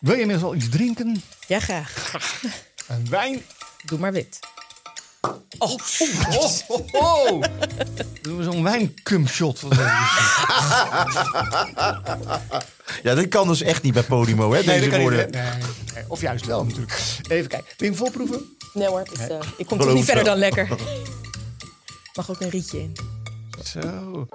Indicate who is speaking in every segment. Speaker 1: Wil je inmiddels al iets drinken?
Speaker 2: Ja, graag.
Speaker 1: Een wijn?
Speaker 2: Doe maar wit.
Speaker 1: Oh, oh, oh, oh. Doen we zo'n wijncumshot? wat dat is.
Speaker 3: Ja, dat kan dus echt niet bij Podimo, hè,
Speaker 1: Nee,
Speaker 3: deze
Speaker 1: dat kan
Speaker 3: woorden.
Speaker 1: niet. Nee, nee, Of juist wel, natuurlijk. Even kijken. Wil je hem volproeven?
Speaker 2: Nee hoor, ik, eh, ik kom
Speaker 3: Geloof
Speaker 2: toch niet verder
Speaker 3: wel.
Speaker 2: dan lekker. Mag ook een rietje in.
Speaker 1: Zo.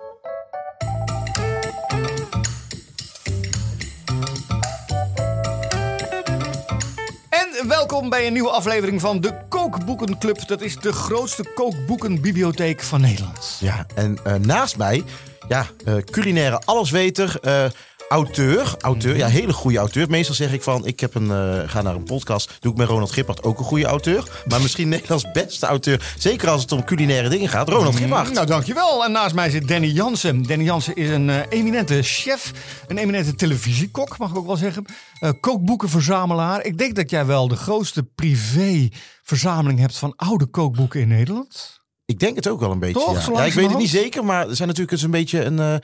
Speaker 1: En welkom bij een nieuwe aflevering van de Kookboekenclub. Dat is de grootste kookboekenbibliotheek van Nederland.
Speaker 3: Ja, en eh, naast mij, ja, eh, culinaire allesweter, eh, auteur, auteur,
Speaker 1: Mhm.
Speaker 3: ja, hele goede auteur. Meestal zeg ik van, ik heb een, eh, ga naar een podcast, doe ik met Ronald Gippard, ook een goede auteur. Maar misschien Nederlands beste auteur, zeker als het om culinaire dingen gaat, Ronald Gippard.
Speaker 1: Nou, dankjewel. En naast mij zit Danny Jansen. Danny Jansen is een eh, eminente chef, een eminente televisiekok, mag ik ook wel zeggen. Eh, kookboekenverzamelaar. Ik denk dat jij wel de grootste privéverzameling hebt van oude kookboeken in Nederland.
Speaker 3: ik denk het ook wel een beetje,
Speaker 1: Toch, zo
Speaker 3: ja. Ja, Ik weet het
Speaker 1: langzamerhand?
Speaker 3: niet zeker, maar er zijn natuurlijk eens een beetje een, eh,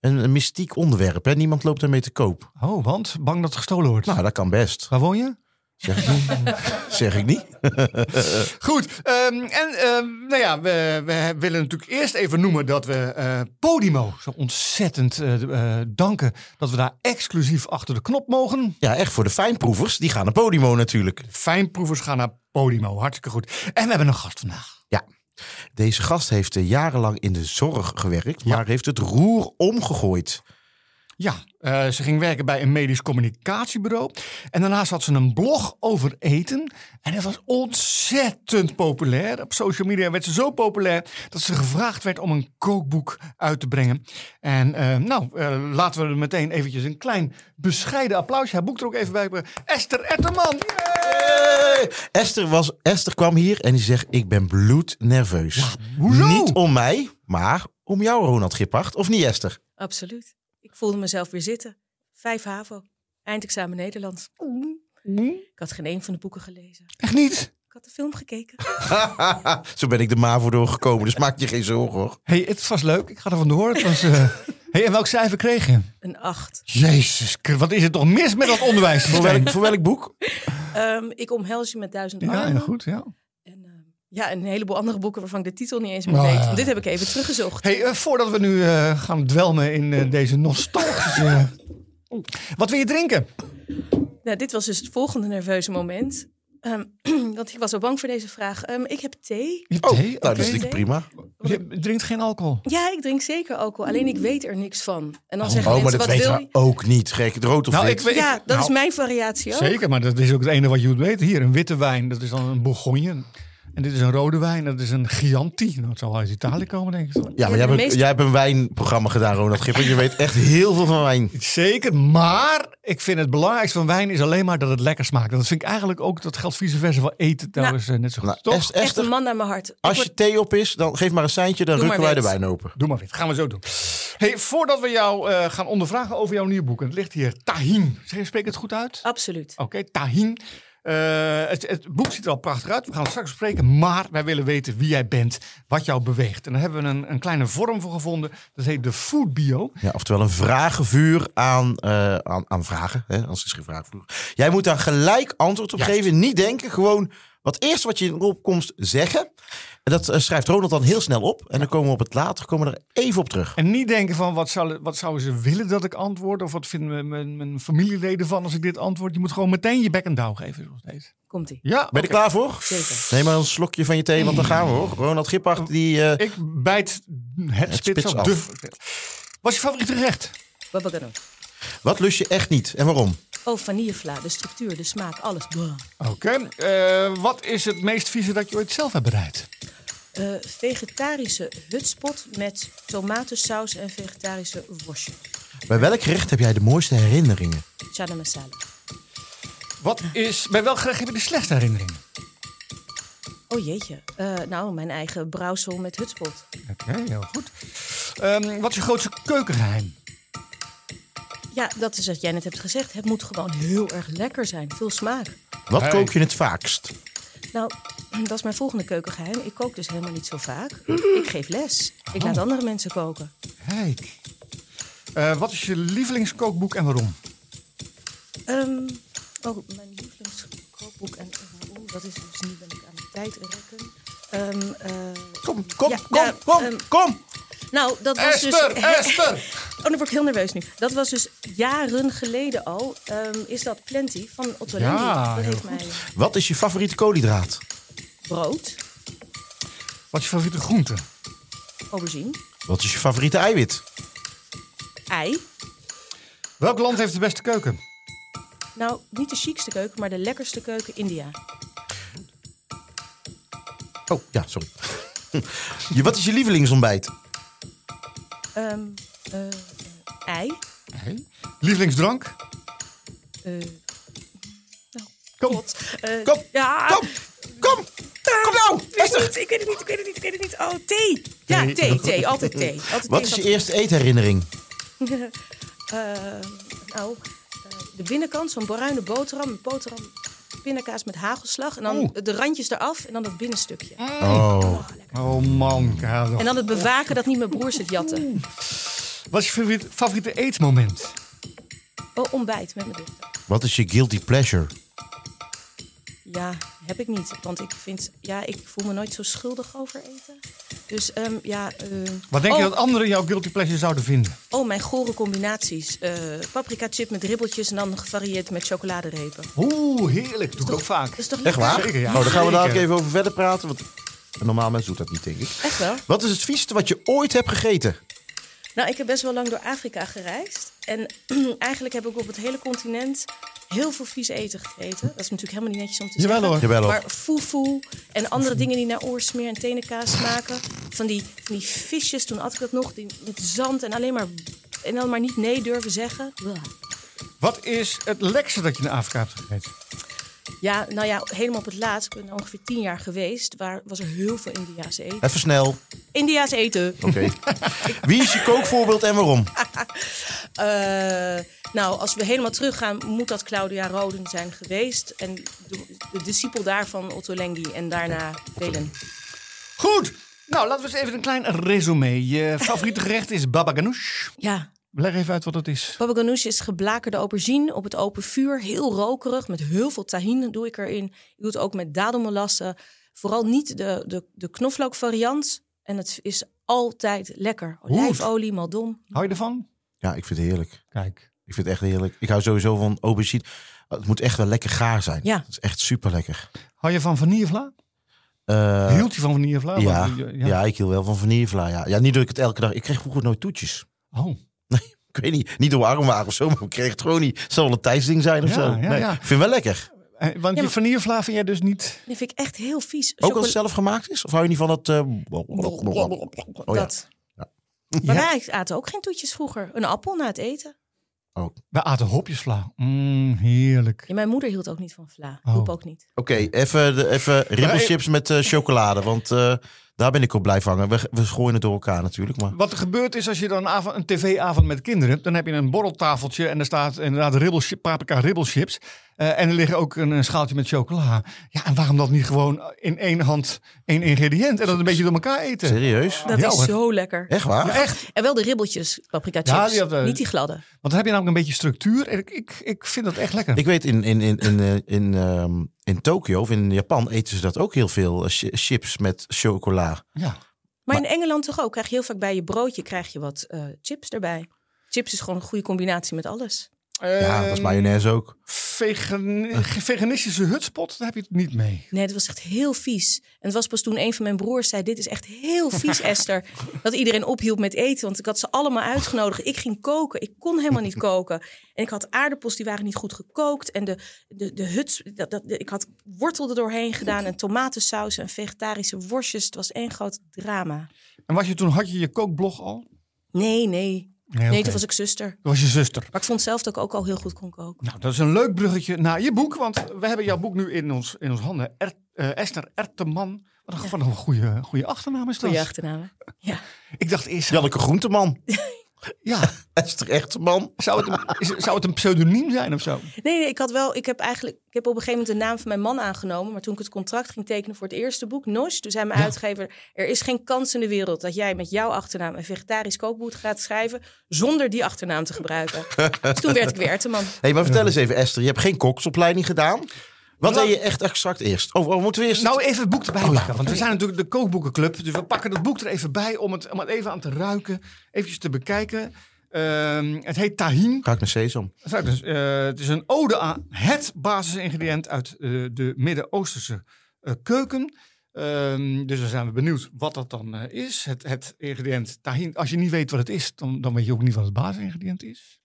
Speaker 3: een, een mystiek onderwerp, hè. Niemand loopt daarmee te koop.
Speaker 1: Oh, want bang dat het gestolen wordt.
Speaker 3: Nou, dat kan best,
Speaker 1: Waar woon je?
Speaker 3: zeg ik niet. zeg ik niet.
Speaker 1: Goed, ehm, en ehm, nou ja, we, we willen natuurlijk eerst even noemen dat we eh, Podimo zo ontzettend eh, eh, danken dat we daar exclusief achter de knop mogen.
Speaker 3: Ja, echt voor de fijnproevers, die gaan naar Podimo natuurlijk.
Speaker 1: Fijnproevers gaan naar Podimo. Hartstikke goed. En we hebben een gast vandaag.
Speaker 3: Ja. Deze gast heeft eh, jarenlang in de zorg gewerkt, maar heeft het roer omgegooid.
Speaker 1: Ja, eh, ze ging werken bij een medisch communicatiebureau. En daarnaast had ze een blog over eten. En dat was ontzettend populair. Op social media werd ze zo populair dat ze gevraagd werd om een kookboek uit te brengen. En eh, nou, eh, laten we er meteen eventjes een klein bescheiden applausje. Haar boek er ook even bij. brengen. Esther Etterman.
Speaker 3: Esther, was, Esther kwam hier en die zegt: Ik ben bloednerveus.
Speaker 1: hoezo?
Speaker 3: Niet om mij, maar om jou, Ronald Gippard. Of niet, Esther?
Speaker 2: Absoluut. Ik voelde mezelf weer zitten. Vijf HAVO. Eindexamen Nederlands. Ik had geen een van de boeken gelezen.
Speaker 1: Echt niet?
Speaker 2: Ik had de film gekeken.
Speaker 3: Zo ben ik de MAVO doorgekomen, dus maak je geen zorgen hoor.
Speaker 1: hey, het was leuk. Ik ga er vandoor. Het was, eh, hey, en welk cijfer kreeg je?
Speaker 2: Een acht.
Speaker 1: Jezus, Christus, wat is er toch mis met dat onderwijs?
Speaker 3: Voor welk, voor welk boek?
Speaker 2: Ehm, ik omhels je met duizend
Speaker 1: Ja,
Speaker 2: armen.
Speaker 1: ja, goed, ja.
Speaker 2: En, ehm, ja, en een heleboel andere boeken waarvan ik de titel niet eens meer
Speaker 1: Nou,
Speaker 2: weet.
Speaker 1: ja.
Speaker 2: Want Dit heb ik even teruggezocht.
Speaker 1: Hey, eh, voordat we nu eh, gaan dwelmen in eh, deze nostalgische... eh, wat wil je drinken?
Speaker 2: Nou, dit was dus het volgende nerveuze moment. Ehm, want ik was al bang voor deze vraag. Ehm, ik heb thee.
Speaker 1: Je hebt
Speaker 3: Oh,
Speaker 1: thee?
Speaker 3: nou,
Speaker 1: Oké.
Speaker 3: dat is natuurlijk prima.
Speaker 1: Je drinkt geen alcohol.
Speaker 2: Ja, ik drink zeker alcohol. Alleen ik weet er niks van. En dan zeggen
Speaker 3: Mm. Oh, maar
Speaker 2: mensen,
Speaker 3: dat
Speaker 2: wat
Speaker 3: weet
Speaker 2: wil
Speaker 3: haar
Speaker 2: je?
Speaker 3: ook niet. Gek, het rood of
Speaker 1: Nou,
Speaker 3: wit.
Speaker 1: ik weet-
Speaker 2: Ja, dat
Speaker 1: Nou,
Speaker 2: is mijn variatie ook.
Speaker 1: Zeker, maar dat is ook het enige wat je moet weten. Hier, een witte wijn, dat is dan een bourgogne. En dit is een rode wijn, dat is een Chianti. Nou, het zal wel uit Italië komen, denk ik.
Speaker 3: Ja, maar
Speaker 2: Ja,
Speaker 3: jij,
Speaker 2: de
Speaker 3: bent-
Speaker 2: meeste-
Speaker 3: jij hebt een wijnprogramma gedaan, Ronald Gippard. Je weet echt heel veel van wijn.
Speaker 1: Zeker, maar ik vind het belangrijkste van wijn is alleen maar dat het lekker smaakt. En Dat vind ik eigenlijk ook, dat geldt vice versa voor eten trouwens eh, net zo goed.
Speaker 3: Nou,
Speaker 1: toch?
Speaker 3: Est-
Speaker 2: Echt
Speaker 3: Esther,
Speaker 2: een man naar mijn hart. Ik
Speaker 3: Als
Speaker 2: word-
Speaker 3: je thee op is, dan geef maar een seintje, dan
Speaker 2: Doe
Speaker 3: rukken
Speaker 2: maar
Speaker 3: wij de
Speaker 2: wit.
Speaker 3: wit. wijn open.
Speaker 1: Doe maar wit. Gaan we zo doen. Hey, voordat we jou eh, gaan ondervragen over jouw nieuwe boek. En het ligt hier Tahin. Zeg, Spreek ik het goed uit?
Speaker 2: Absoluut.
Speaker 3: Oh.
Speaker 1: Oké, Tahin. Eh, het, het boek ziet er al prachtig uit. We gaan het straks bespreken. Maar wij willen weten wie jij bent. Wat jou beweegt. En daar hebben we een, een kleine vorm voor gevonden. Dat heet de Food Bio.
Speaker 3: Ja, oftewel een vragenvuur aan, eh, aan, aan vragen. Hè? Anders is het geen vragenvuur. Jij moet daar gelijk antwoord op geven. Niet denken, gewoon wat eerst wat je in de opkomst zeggen. En dat eh, schrijft Ronald dan heel snel op. En dan komen we op het later komen we er even op terug.
Speaker 1: En niet denken van wat, zou, wat zouden ze willen dat ik antwoord. Of wat vinden mijn, mijn, mijn familieleden van als ik dit antwoord. Je moet gewoon meteen je bek en douw geven. Zoals deze.
Speaker 2: Komt-ie.
Speaker 1: Ja,
Speaker 3: Ben je er klaar voor?
Speaker 2: Zeker. Mm. Oh.
Speaker 3: Neem maar een slokje van je thee, want dan gaan we hoor. Ronald Gippard, die... eh,
Speaker 1: ik bijt het, spits,
Speaker 3: spits
Speaker 1: af.
Speaker 3: af.
Speaker 1: De- Wat is je favoriete gerecht?
Speaker 2: Babagano.
Speaker 3: wat lust je echt niet en waarom?
Speaker 2: Oh, vanillevla. De structuur, de smaak, alles. Blah.
Speaker 1: Oké, eh, wat is het meest vieze dat je ooit zelf hebt bereid?
Speaker 2: Eh, vegetarische hutspot met tomatensaus en vegetarische worstje.
Speaker 3: Bij welk gerecht heb jij de mooiste herinneringen?
Speaker 2: Chana masala.
Speaker 1: Wat is, bij welk gerecht heb je de slechtste herinneringen?
Speaker 2: Oh jeetje. Eh, nou, mijn eigen brouwsel met hutspot.
Speaker 1: Oké, heel goed. Ehm, wat is je grootste keukengeheim?
Speaker 2: Ja, dat is wat jij net hebt gezegd. Het moet gewoon heel erg lekker zijn. Veel smaak.
Speaker 3: Wat
Speaker 1: Hey.
Speaker 3: kook je het vaakst?
Speaker 2: Nou, dat is mijn volgende keukengeheim. Ik kook dus helemaal niet zo vaak. Ik geef les. Ik laat andere mensen koken.
Speaker 1: Kijk. Eh, wat is je lievelingskookboek en waarom?
Speaker 2: Ehm, Oh, mijn lievelingskookboek. En oeh, dat is dus nu ben ik aan de tijd rekken. Ehm, eh,
Speaker 3: Kom, kom,
Speaker 2: Ja,
Speaker 3: kom,
Speaker 2: ja,
Speaker 3: kom,
Speaker 2: ehm,
Speaker 3: kom.
Speaker 2: nou, dat was
Speaker 1: Esther,
Speaker 2: dus...
Speaker 1: Esther!
Speaker 2: Oh, dan word ik heel nerveus nu. Dat was dus jaren geleden al. ehm, is dat Plenty van Otto
Speaker 1: Ja,
Speaker 2: Lengi. Dat
Speaker 1: heel
Speaker 2: heeft mij
Speaker 3: Wat is je favoriete koolhydraat?
Speaker 2: brood,
Speaker 1: Wat is je favoriete groente?
Speaker 2: aubergine,
Speaker 3: Wat is je favoriete eiwit?
Speaker 2: ei.
Speaker 1: Welk land heeft de beste keuken?
Speaker 2: Nou, niet de chicste keuken, maar de lekkerste keuken India.
Speaker 3: Oh, ja, sorry. je, wat is je lievelingsontbijt?
Speaker 2: Ehm, eh, eh, ei.
Speaker 1: Nee. Lievelingsdrank?
Speaker 2: eh,
Speaker 1: Kom.
Speaker 2: pot. eh,
Speaker 3: Kom,
Speaker 2: ja,
Speaker 3: Kom, kom, kom nou,
Speaker 2: Ik weet, het
Speaker 3: Esther.
Speaker 2: niet, ik weet het niet, ik weet het niet, ik weet het niet. Oh, thee. Ja,
Speaker 1: Thee.
Speaker 2: thee, thee. Altijd thee. Altijd
Speaker 3: Wat
Speaker 2: thee
Speaker 3: is
Speaker 2: van-
Speaker 3: je eerste eetherinnering?
Speaker 2: Ehm, nou, eh, de binnenkant, zo'n bruine boterham. Een boterham, pindakaas met hagelslag. En dan
Speaker 1: Oeh.
Speaker 2: de randjes eraf en dan dat binnenstukje.
Speaker 3: Oh,
Speaker 1: Oh man, Karel.
Speaker 2: En dan het bewaken dat niet mijn broers het jatten.
Speaker 1: Wat is je favoriete, favoriete eetmoment?
Speaker 2: Oh, ontbijt met mijn dochter.
Speaker 3: wat is je guilty pleasure?
Speaker 2: Ja, heb ik niet. Want ik vind, ja, ik voel me nooit zo schuldig over eten. Dus ehm, ja... ehm,
Speaker 1: Wat denk je
Speaker 2: oh,
Speaker 1: dat anderen jouw guilty pleasure zouden vinden?
Speaker 2: Oh, mijn gore combinaties. Eh, paprika chip met ribbeltjes en dan gevarieerd met chocoladerepen.
Speaker 1: Oeh, heerlijk. Doe ik ook
Speaker 2: Dat
Speaker 1: vaak.
Speaker 2: is toch dus-
Speaker 3: Echt waar?
Speaker 1: Zeker, ja.
Speaker 3: Oh, daar gaan we dadelijk
Speaker 1: Zeker.
Speaker 3: even over verder praten. Want een normaal mens doet dat niet, denk ik.
Speaker 2: Echt wel?
Speaker 3: Wat is het vieste wat je ooit hebt gegeten?
Speaker 2: Nou, ik heb best wel lang door Afrika gereisd. En eigenlijk heb ik op het hele continent heel veel vies eten gegeten. Dat is natuurlijk helemaal niet netjes om te
Speaker 1: Jawel
Speaker 2: zeggen.
Speaker 1: hoor.
Speaker 3: Jawel hoor.
Speaker 2: Maar fufu en andere dingen die naar oorsmeer en tenenkaas smaken. Van die, van die visjes, toen at ik dat nog, die, met zand en alleen maar... En dan maar niet nee durven zeggen.
Speaker 1: Wat is het lekkerste dat je in Afrika hebt gegeten?
Speaker 2: Ja, nou ja, helemaal op het laatst. Ik ben ongeveer tien jaar geweest. Waar was er heel veel Indiaas eten.
Speaker 3: Even snel.
Speaker 2: Indiaas eten.
Speaker 3: Oké. Wie is je kookvoorbeeld en waarom?
Speaker 2: Eh, nou, als we helemaal teruggaan, moet dat Claudia Roden zijn geweest. En de, de discipel daarvan Otto Lengi en daarna Velen.
Speaker 1: Goed. Nou, laten we eens even een klein resume. Je favoriete gerecht is baba ganoush.
Speaker 2: Ja,
Speaker 1: Leg even uit wat dat is.
Speaker 2: baba ganoush is geblakerde aubergine op het open vuur. Heel rokerig, met heel veel tahine doe ik erin. Ik doe het ook met dadelmolassen. Vooral niet de, de, de knoflookvariant. En het is altijd lekker. Olijfolie, maldon.
Speaker 1: Hou je ervan?
Speaker 3: Ja, ik vind het heerlijk.
Speaker 1: Kijk.
Speaker 3: Ik vind het echt heerlijk. Ik hou sowieso van aubergine. Het moet echt wel lekker gaar zijn.
Speaker 2: Ja.
Speaker 3: Het is echt super lekker.
Speaker 1: Hou je van vanillevla? Hield je van vanillevla?
Speaker 3: ja,
Speaker 1: Want,
Speaker 3: ja.
Speaker 1: eh, ja.
Speaker 3: ik hield wel van vanillevla. Ja. ja, niet dat ik het elke dag... Ik kreeg vroeger nooit toetjes.
Speaker 1: Oh.
Speaker 3: Ik weet niet, niet door we arm waren of zo, maar ik kreeg het gewoon niet. Het zal wel een tijdsding zijn of
Speaker 1: Ja,
Speaker 3: zo.
Speaker 1: ja,
Speaker 3: Nee,
Speaker 1: ja.
Speaker 3: Ik vind het wel lekker.
Speaker 1: Eh, Want
Speaker 2: Ja,
Speaker 1: je
Speaker 2: maar-
Speaker 1: vanillevla vind jij dus niet...
Speaker 2: Dat vind ik echt heel vies.
Speaker 3: Ook als het zelf gemaakt is? Of hou je niet van dat... eh,
Speaker 2: Chocola-
Speaker 3: Oh ja.
Speaker 2: Dat.
Speaker 1: Ja.
Speaker 2: Maar wij aten ook geen toetjes vroeger. Een appel na het eten.
Speaker 3: Oh.
Speaker 1: We aten hopjesvla. Mm, heerlijk.
Speaker 2: Ja, mijn moeder hield ook niet van vla.
Speaker 1: Oh.
Speaker 2: Roep ook niet.
Speaker 3: Oké, even, de- even ribbelchips met eh, chocolade. Want eh, daar ben ik op blijven hangen. We, we gooien het door elkaar natuurlijk. Maar
Speaker 1: Wat er gebeurt is als je dan een, avond- een tv-avond met kinderen hebt, dan heb je een borreltafeltje en er staat inderdaad ribbelchi- paprika ribbelchips. Eh, en er liggen ook een, een schaaltje met chocola. Ja, en waarom dat niet gewoon in één hand één ingrediënt en dat een beetje door elkaar eten?
Speaker 3: serieus?
Speaker 2: Dat
Speaker 1: Ja,
Speaker 2: is
Speaker 1: hoor.
Speaker 2: zo lekker.
Speaker 3: Echt waar?
Speaker 1: Echt,
Speaker 2: En wel de ribbeltjes, paprika
Speaker 1: Ja,
Speaker 2: chips.
Speaker 1: die had, eh,
Speaker 2: Niet die gladde.
Speaker 1: want dan heb je namelijk een beetje structuur. En ik, ik, ik vind dat echt lekker.
Speaker 3: Ik weet, in, in, in, in, eh, in, ehm, in Tokio of in Japan eten ze dat ook heel veel. eh, chi- chips met chocola.
Speaker 1: ja.
Speaker 2: Maar, in Engeland toch ook. Krijg je heel vaak bij je broodje krijg je wat eh, chips erbij. Chips is gewoon een goede combinatie met alles.
Speaker 3: Ja,
Speaker 2: Ehm,
Speaker 3: dat is Eh. mayonaise ook.
Speaker 1: Vegan- veganistische hutspot, daar heb je het niet mee.
Speaker 2: Nee, dat was echt heel vies. En het was pas toen een van mijn broers zei... dit is echt heel vies, Esther. Dat iedereen ophield met eten. Want ik had ze allemaal uitgenodigd. Ik ging koken. Ik kon helemaal niet koken. En ik had aardappels, die waren niet goed gekookt. En de, de, de huts... Dat, dat, ik had wortel er doorheen gedaan. En tomatensaus en vegetarische worstjes. Het was één groot drama.
Speaker 1: En was je toen, had je je kookblog al?
Speaker 2: Nee, nee.
Speaker 1: Nee,
Speaker 2: Nee,
Speaker 1: oké.
Speaker 2: toen was ik zuster.
Speaker 1: Toen was je zuster.
Speaker 2: Maar ik vond zelf dat ik ook al heel goed kon koken.
Speaker 1: Nou, dat is een leuk bruggetje naar je boek, want we hebben jouw boek nu in ons, in ons handen. Er, eh, Esther Erteman. Wat een, wat een goede, goede achternaam is dat.
Speaker 2: Goeie achternaam. hè? Ja.
Speaker 1: Ik dacht eerst,
Speaker 3: Janneke Groenteman.
Speaker 1: Ja,
Speaker 3: Esther Echterman.
Speaker 1: zou het, een- is- zou het een pseudoniem zijn of zo?
Speaker 2: Nee, nee, ik had wel. Ik heb eigenlijk. Ik heb op een gegeven moment de naam van mijn man aangenomen. Maar toen ik het contract ging tekenen voor het eerste boek, Nosh, toen zei mijn uitgever: Er is geen kans in de wereld dat jij met jouw achternaam een vegetarisch kookboek gaat schrijven. zonder die achternaam te gebruiken. dus toen werd ik weer Erteman.
Speaker 3: Hé, maar vertel eens even, Esther. Je hebt geen koksopleiding gedaan. Wat
Speaker 1: Nou-
Speaker 3: deed je echt exact eerst? Oh, oh, moeten we eerst...
Speaker 1: Nou, even het boek erbij pakken. Want we zijn natuurlijk de kookboekenclub. Dus we pakken dat boek er even bij om het, om het even aan te ruiken. Eventjes te bekijken. Ehm, het heet tahin.
Speaker 3: Ga ik naar Sesam.
Speaker 1: Dat zou ik dus, eh, het is een ode aan het basisingrediënt uit eh, de Midden-Oosterse eh, keuken. Ehm, dus dan zijn we benieuwd wat dat dan eh, is. Het, het ingrediënt tahin. Als je niet weet wat het is, dan, dan weet je ook niet wat het basisingrediënt is.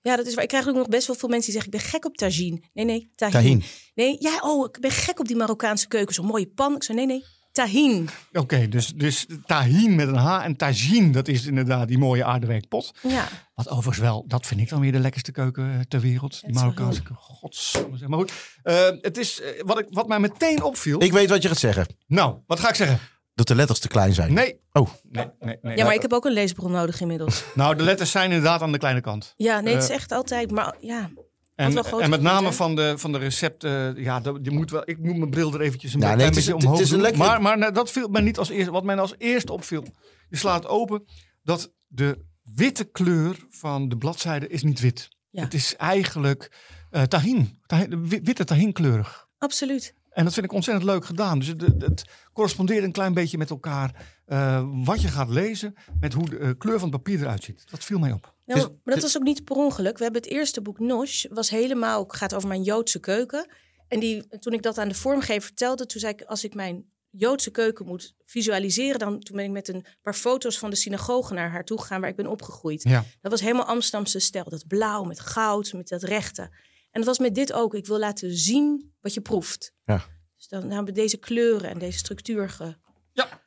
Speaker 2: Ja, dat is waar. Ik krijg ook nog best wel veel mensen die zeggen: Ik ben gek op tagine. Nee, nee, tahin.
Speaker 3: Tahin.
Speaker 2: Nee, ja, oh, ik ben gek op die Marokkaanse keuken. Zo'n mooie pan. Ik zei: Nee, nee, tahin.
Speaker 1: Oké, dus, dus tahin met een H en tagine, dat is inderdaad die mooie aardewerkpot.
Speaker 2: Ja.
Speaker 1: Wat overigens wel, dat vind ik dan weer de lekkerste keuken eh, ter wereld. Die
Speaker 2: is wel
Speaker 1: Marokkaanse keuken. Godsamme zeg. Maar goed, eh, het is, eh, wat, ik, wat mij meteen opviel.
Speaker 3: Ik weet wat je gaat zeggen.
Speaker 1: Nou, wat ga ik zeggen?
Speaker 3: Dat de letters te klein zijn.
Speaker 1: Nee.
Speaker 3: Oh.
Speaker 1: Nee, nee, nee.
Speaker 2: ja, maar ik heb ook een leesbron nodig inmiddels.
Speaker 1: Nou, de letters zijn inderdaad aan de kleine kant.
Speaker 2: Ja, nee, het is
Speaker 1: Eh.
Speaker 2: echt altijd. Maar ja,
Speaker 1: En,
Speaker 2: wel groot
Speaker 1: en met
Speaker 2: gebied,
Speaker 1: name
Speaker 2: hè?
Speaker 1: van de, van de recepten. Ja, dat- die moet wel, ik moet mijn bril er eventjes een
Speaker 3: Ja,
Speaker 1: beetje-
Speaker 3: nee,
Speaker 1: een
Speaker 3: het is-
Speaker 1: beetje
Speaker 3: het
Speaker 1: omhoog
Speaker 3: is een
Speaker 1: doen.
Speaker 3: lekker-
Speaker 1: Maar, maar nou, dat viel mij niet als eerste. Wat mij nou als eerste opviel. Je slaat open dat de witte kleur van de bladzijde is niet wit.
Speaker 2: Ja.
Speaker 1: Het is eigenlijk eh tahin. Tahin- wi- Witte tahinkleurig.
Speaker 2: absoluut.
Speaker 1: En dat vind ik ontzettend leuk gedaan. Dus het, het- het correspondeert een klein beetje met elkaar. eh, wat je gaat lezen met hoe de eh, kleur van het papier eruit ziet. Dat viel mij op.
Speaker 2: Ja,
Speaker 3: Dus-
Speaker 2: Nou, maar, maar dat was ook niet per ongeluk. We hebben het eerste boek Nosh, was helemaal, gaat over mijn Joodse keuken. En die, toen ik dat aan de vormgever vertelde, toen zei ik, als ik mijn Joodse keuken moet visualiseren, dan toen ben ik met een paar foto's van de synagoge naar haar toe gegaan waar ik ben opgegroeid.
Speaker 1: Ja.
Speaker 2: Dat was helemaal Amsterdamse stijl. Dat blauw met goud, met dat rechte. En dat was met dit ook. Ik wil laten zien wat je proeft.
Speaker 3: Ja.
Speaker 2: Dus dan hebben we deze kleuren en deze structuur ge...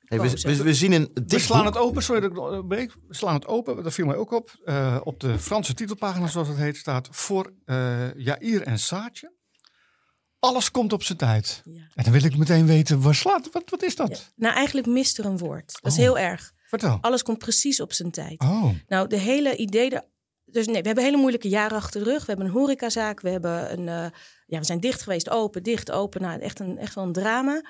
Speaker 3: Hey,
Speaker 2: Oh,
Speaker 3: we, we, we zien een
Speaker 1: We
Speaker 3: dik
Speaker 1: slaan
Speaker 3: boek.
Speaker 1: het open, sorry dat ik nog onderbreek. We slaan het open, dat viel mij ook op. Eh, op de Franse titelpagina, zoals het heet, staat voor eh Jair en Saatje. Alles komt op zijn tijd.
Speaker 2: Ja.
Speaker 1: En dan wil ik meteen weten, waar slaat, wat, wat is dat?
Speaker 2: Nou, eigenlijk mist er een woord. Dat is
Speaker 1: Oh.
Speaker 2: heel erg.
Speaker 1: Vertel.
Speaker 2: Alles komt precies op zijn tijd.
Speaker 1: Oh,
Speaker 2: Nou, de hele idee. daar- Dus nee, we hebben hele moeilijke jaren achter de rug. We hebben een horecazaak. We, hebben een, eh, ja, we zijn dicht geweest, open, dicht, open. Nou, echt, een, echt wel een drama.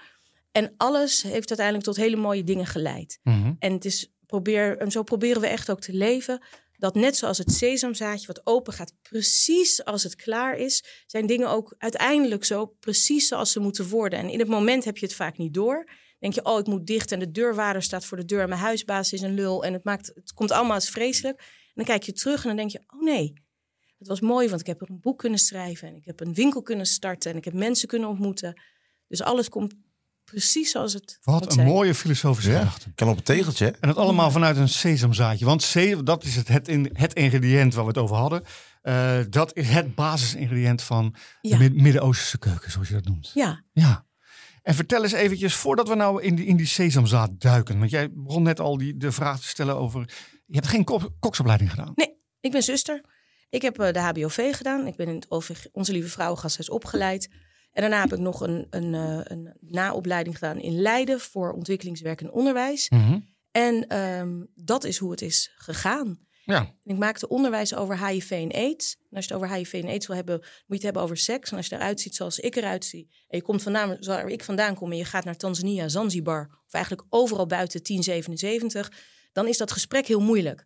Speaker 2: En alles heeft uiteindelijk tot hele mooie dingen geleid.
Speaker 1: Mhm.
Speaker 2: En, het is, probeer, en zo proberen we echt ook te leven. Dat net zoals het sesamzaadje wat open gaat, precies als het klaar is, zijn dingen ook uiteindelijk zo precies zoals ze moeten worden. En in het moment heb je het vaak niet door. Denk je, oh, ik moet dicht en de deurwaarder staat voor de deur en mijn huisbaas is een lul en het, maakt, het komt allemaal als vreselijk. En dan kijk je terug en dan denk je, oh nee, het was mooi, want ik heb een boek kunnen schrijven en ik heb een winkel kunnen starten en ik heb mensen kunnen ontmoeten. Dus alles komt precies zoals het moet
Speaker 1: wat een
Speaker 2: zijn.
Speaker 1: mooie filosofische
Speaker 3: Ja,
Speaker 1: gedachte.
Speaker 3: kan op een tegeltje. hè?
Speaker 1: En dat allemaal vanuit een sesamzaadje. Want sesam, dat is het, het, in, het ingrediënt waar we het over hadden. Eh, dat is het basisingrediënt van
Speaker 2: Ja.
Speaker 1: de Mid- Midden-Oosterse keuken, zoals je dat noemt.
Speaker 2: Ja,
Speaker 1: Ja. En vertel eens eventjes, voordat we nou in die, in die sesamzaad duiken. Want jij begon net al die, de vraag te stellen over... Je hebt geen kok- koksopleiding gedaan.
Speaker 2: Ik ben zuster. Ik heb eh, de HBOV gedaan. Ik ben in het OVG, Onze Lieve Vrouwengasthuis opgeleid. En daarna heb ik nog een, een, eh, een naopleiding gedaan in Leiden voor ontwikkelingswerk en onderwijs. En ehm, dat is hoe het is gegaan.
Speaker 1: Ja.
Speaker 2: En ik maakte onderwijs over HIV en AIDS. En als je het over HIV en AIDS wil hebben, moet je het hebben over seks. En als je eruit ziet zoals ik eruit zie, en je komt vandaan waar ik vandaan kom en je gaat naar Tanzania, Zanzibar, of eigenlijk overal buiten 1077, dan is dat gesprek heel moeilijk.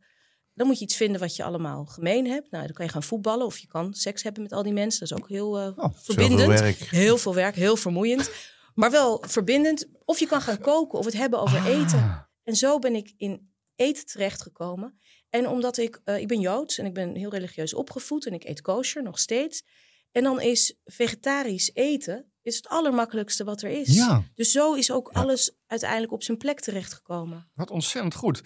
Speaker 2: Dan moet je iets vinden wat je allemaal gemeen hebt. Nou, dan kan je gaan voetballen of je kan seks hebben met al die mensen. Dat is ook heel eh, verbindend.
Speaker 3: Oh, Zoveel werk.
Speaker 2: Heel veel werk, heel vermoeiend. Maar wel verbindend. Of je kan gaan koken of het hebben over
Speaker 3: Ah.
Speaker 1: Ah,
Speaker 2: eten. En zo ben ik in eten terechtgekomen. En omdat ik, eh, ik ben Joods en ik ben heel religieus opgevoed en ik eet kosher nog steeds. En dan is vegetarisch eten is het allermakkelijkste wat er is.
Speaker 1: Ja.
Speaker 2: Dus zo is ook alles uiteindelijk op zijn plek terechtgekomen.
Speaker 1: Wat ontzettend goed.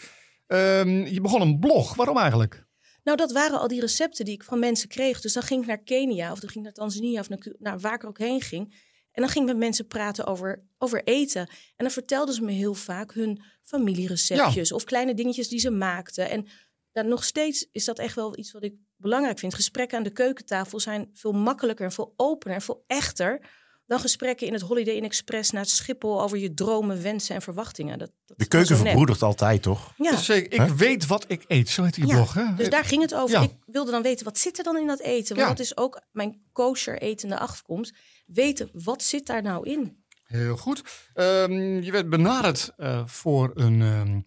Speaker 1: Ehm, je begon een blog. Waarom eigenlijk?
Speaker 2: Nou, dat waren al die recepten die ik van mensen kreeg. Dus dan ging ik naar Kenia of dan ging ik naar Tanzania of naar, Cu- nou, waar ik ook heen ging. En dan ging ik met mensen praten over, over eten. En dan vertelden ze me heel vaak hun familiereceptjes of kleine dingetjes die ze maakten. En dan nog steeds is dat echt wel iets wat ik belangrijk vind. Gesprekken aan de keukentafel zijn veel makkelijker en veel opener en veel echter dan gesprekken in het Holiday Inn Express naar Schiphol over je dromen, wensen en verwachtingen. Dat, dat
Speaker 3: De
Speaker 2: is wel
Speaker 3: keuken
Speaker 2: zo nep.
Speaker 3: verbroedert altijd, toch?
Speaker 2: Ja.
Speaker 1: Dus ik, ik
Speaker 3: Huh?
Speaker 1: weet wat ik eet. Zo heet die
Speaker 2: Ja,
Speaker 1: blog, hè?
Speaker 2: Dus daar ging het over.
Speaker 1: Eh, Ja.
Speaker 2: Ik wilde dan weten, wat zit er dan in dat eten? Want
Speaker 1: Ja.
Speaker 2: dat is ook mijn kosher etende afkomst. Weten, wat zit daar nou in?
Speaker 1: Heel goed. Ehm, je werd benaderd eh, voor een, ehm,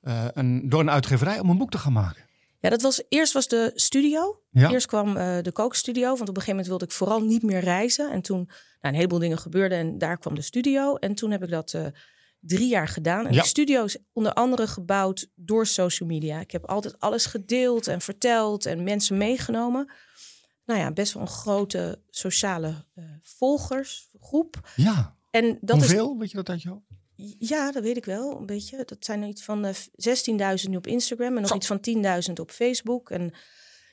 Speaker 1: eh, een, door een uitgeverij om een boek te gaan maken.
Speaker 2: Ja, dat was, eerst was de studio.
Speaker 1: Ja.
Speaker 2: Eerst kwam eh, de kookstudio, want op een gegeven moment wilde ik vooral niet meer reizen. En toen, nou, een heleboel dingen gebeurden en daar kwam de studio. En toen heb ik dat eh, drie jaar gedaan. En
Speaker 1: Ja.
Speaker 2: de studio is onder andere gebouwd door social media. Ik heb altijd alles gedeeld en verteld en mensen meegenomen. Nou ja, best wel een grote sociale eh, volgersgroep.
Speaker 1: Ja.
Speaker 2: En dat is
Speaker 1: Hoeveel? Weet je dat uit je hoofd?
Speaker 2: Ja, dat weet ik wel, een beetje. Dat zijn er iets van eh, 16.000 nu op Instagram en nog
Speaker 1: Zo.
Speaker 2: iets van 10.000 op Facebook. En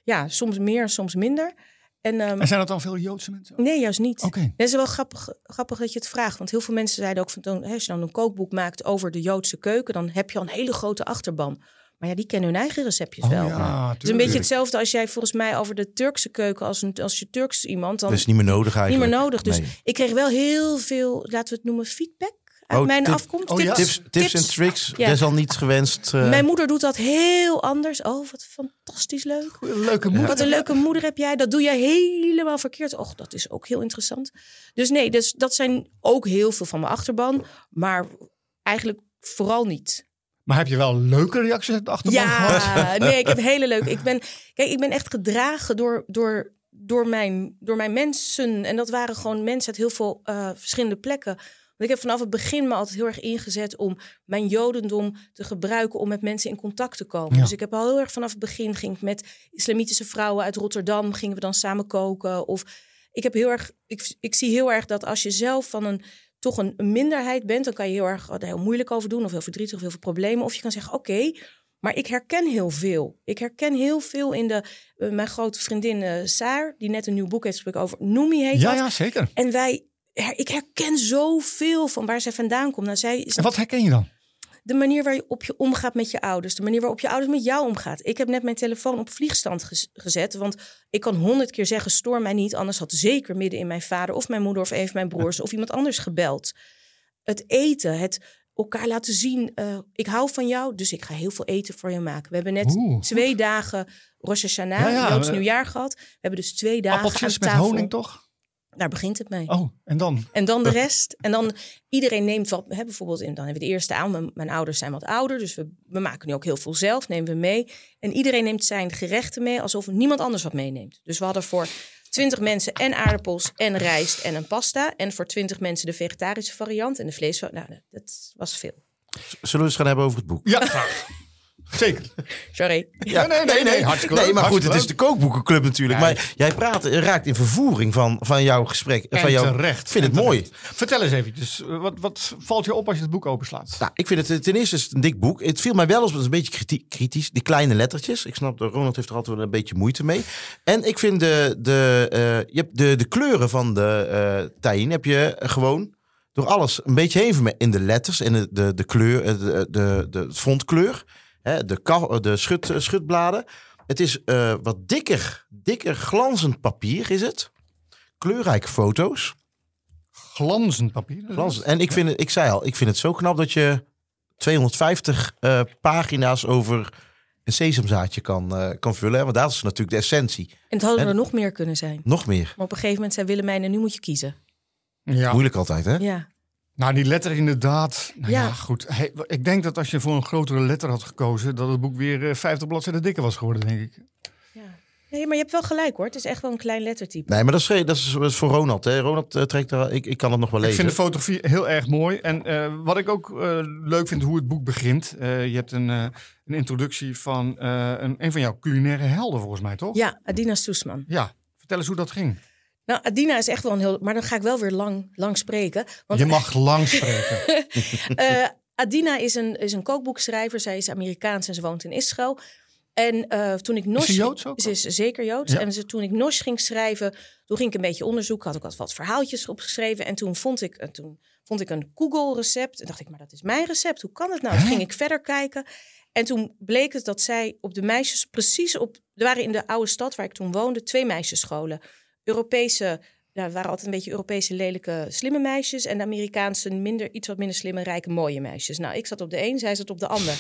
Speaker 2: ja, soms meer, soms minder. En ehm,
Speaker 1: En zijn dat dan veel Joodse mensen? Oké.
Speaker 2: nee, juist niet. Dat is wel grappig, grappig dat je het vraagt. Want heel veel mensen zeiden ook van, toen, hè, als je dan een kookboek maakt over de Joodse keuken, dan heb je al een hele grote achterban. Maar ja, die kennen hun eigen receptjes
Speaker 1: Oh,
Speaker 2: wel.
Speaker 1: ja,
Speaker 2: Het is een beetje
Speaker 1: tuurlijk.
Speaker 2: hetzelfde als jij volgens mij over de Turkse keuken, als, een, als je Turks iemand, dan
Speaker 3: Dat is niet meer nodig eigenlijk.
Speaker 2: niet meer nodig. Dus
Speaker 3: Nee.
Speaker 2: ik kreeg wel heel veel, laten we het noemen, feedback uit
Speaker 3: Oh,
Speaker 2: mijn
Speaker 3: tip-
Speaker 2: afkomst.
Speaker 1: oh ja.
Speaker 3: Tips, tips en tricks,
Speaker 2: Ja.
Speaker 3: desalniets gewenst. eh,
Speaker 2: Mijn moeder doet dat heel anders. Oh, wat fantastisch leuk.
Speaker 1: Goeie, Leuke moeder.
Speaker 2: Wat een leuke moeder heb jij. Dat doe jij helemaal verkeerd. Och, dat is ook heel interessant. Dus nee, dus dat zijn ook heel veel van mijn achterban. Maar eigenlijk vooral niet.
Speaker 1: Maar heb je wel leuke reacties uit de achterban gehad?
Speaker 2: Ja, nee, ik heb hele leuk. Ik ben, kijk, ik ben echt gedragen door, door, door, mijn, door mijn mensen. En dat waren gewoon mensen uit heel veel eh, verschillende plekken. Want ik heb vanaf het begin me altijd heel erg ingezet om mijn jodendom te gebruiken om met mensen in contact te komen.
Speaker 1: Ja.
Speaker 2: Dus ik heb al heel erg vanaf het begin ging ik met islamitische vrouwen uit Rotterdam gingen we dan samen koken. Of ik heb heel erg, ik, ik zie heel erg dat als je zelf van een toch een een minderheid bent, dan kan je heel erg er heel moeilijk over doen of heel verdrietig of heel veel problemen. Of je kan zeggen, oké, maar ik herken heel veel. Ik herken heel veel in de, eh, mijn grote vriendin eh, Saar, die net een nieuw boek heeft gesproken over Noemi heet
Speaker 1: Ja,
Speaker 2: dat.
Speaker 1: ja, zeker.
Speaker 2: En wij, her- ik herken zoveel van waar zij vandaan komt. Nou, zij is
Speaker 1: En wat herken je dan?
Speaker 2: de manier waarop je omgaat met je ouders, de manier waarop je ouders met jou omgaat. Ik heb net mijn telefoon op vliegstand ges- gezet, want ik kan honderd keer zeggen: stoor mij niet, anders had zeker midden in mijn vader of mijn moeder of een van mijn broers of iemand anders gebeld. Het eten, het elkaar laten zien. eh, ik hou van jou, dus ik ga heel veel eten voor je maken. We hebben net
Speaker 1: Oeh,
Speaker 2: twee dagen Rosh Hashanah,
Speaker 1: Ja, ja,
Speaker 2: Joods
Speaker 1: eh,
Speaker 2: nieuwjaar gehad. We hebben dus twee dagen aan
Speaker 1: Appeltjes met
Speaker 2: tafel.
Speaker 1: honing, toch?
Speaker 2: Daar begint het mee.
Speaker 1: Oh, en dan?
Speaker 2: En dan de rest. En dan iedereen neemt wat. Hè, bijvoorbeeld, in- dan hebben we de eerste avond. Mijn, mijn ouders zijn wat ouder. Dus we, we maken nu ook heel veel zelf. Nemen we mee. En iedereen neemt zijn gerechten mee. Alsof niemand anders wat meeneemt. Dus we hadden voor 20 mensen en aardappels en rijst en een pasta. En voor 20 mensen de vegetarische variant en de vlees. Nou, dat was veel.
Speaker 3: Zullen we eens gaan hebben over het boek?
Speaker 1: Ja, graag. Zeker.
Speaker 2: Sorry.
Speaker 3: Ja,
Speaker 1: nee, nee, nee, hartstikke leuk,
Speaker 3: Nee, maar goed, het is
Speaker 1: hartstikke
Speaker 3: de kookboekenclub natuurlijk.
Speaker 1: Ja.
Speaker 3: Maar jij praat, raakt in vervoering van, van jouw gesprek.
Speaker 1: En
Speaker 3: van jouw,
Speaker 1: terecht.
Speaker 3: vind
Speaker 1: En
Speaker 3: het mooi.
Speaker 1: terecht. Vertel eens eventjes, eh, wat, wat valt je op als je het boek openslaat?
Speaker 3: Nou, ik vind het ten eerste is het een dik boek. Het viel mij wel eens een beetje kriti- kritisch. Die kleine lettertjes. Ik snap, dat Ronald heeft er altijd wel een beetje moeite mee. En ik vind de, de, eh, je hebt de, de kleuren van de eh tahin heb je gewoon door alles een beetje heen verme- In de letters, in de, de, de kleur, eh, de, de, de fontkleur, hè, de, ka- eh, de schut, eh, schutbladen. Het is eh, wat dikker, dikker glanzend papier is het. Kleurrijke foto's.
Speaker 1: Glanzend papier.
Speaker 3: Glans. En ik, vind het, ik zei al, ik vind het zo knap dat je 250 eh, pagina's over een sesamzaadje kan, eh, kan vullen. hè? Want dat is natuurlijk de essentie.
Speaker 2: En het hadden
Speaker 3: En-
Speaker 2: er nog meer kunnen zijn.
Speaker 3: Nog meer.
Speaker 2: Maar op een gegeven moment zei Willemijn, en nu moet je kiezen.
Speaker 1: Ja.
Speaker 3: Moeilijk altijd, hè?
Speaker 2: Ja.
Speaker 1: Nou, die letter inderdaad. Nou ja.
Speaker 2: Ja.
Speaker 1: goed. Hey, w- ik denk dat als je voor een grotere letter had gekozen, dat het boek weer eh, 50 bladzijden dikker was geworden, denk ik.
Speaker 2: ja. Nee, maar je hebt wel gelijk hoor. Het is echt wel een klein lettertype.
Speaker 3: Nee, maar dat is, dat is dat is voor Ronald. Hè? Ronald eh, trekt daar, ik, ik kan het nog wel
Speaker 1: Ik
Speaker 3: lezen.
Speaker 1: vind de fotografie heel erg mooi. En eh, wat ik ook eh, leuk vind, hoe het boek begint. Eh, je hebt een, eh, een introductie van eh, een, een van jouw culinaire helden, volgens mij, toch?
Speaker 2: Ja, Adina Soesman.
Speaker 1: Ja. Vertel eens hoe dat ging.
Speaker 2: Nou, Adina is echt wel een heel. Maar dan ga ik wel weer lang, lang spreken. Want
Speaker 1: je mag lang spreken.
Speaker 2: eh, Adina is een, is een kookboekschrijver. Zij is Amerikaans en ze woont in Israël. En eh, toen ik Nosh.
Speaker 1: ze Joods ook?
Speaker 2: Ze is zeker Joods.
Speaker 1: Ja.
Speaker 2: En ze, toen ik Nosh ging schrijven, toen ging ik een beetje onderzoek. Had ik wat, wat verhaaltjes opgeschreven. En toen vond ik, en toen vond ik een Google-recept. En dacht ik, maar dat is mijn recept. Hoe kan het nou? Toen ging ik verder kijken. En toen bleek het dat zij op de meisjes precies op. Er waren in de oude stad waar ik toen woonde twee meisjesscholen. Europese daar waren altijd een beetje Europese lelijke slimme meisjes. En de Amerikaanse minder, iets wat minder slimme, rijke mooie meisjes. Nou, ik zat op de een, zij zat op de ander.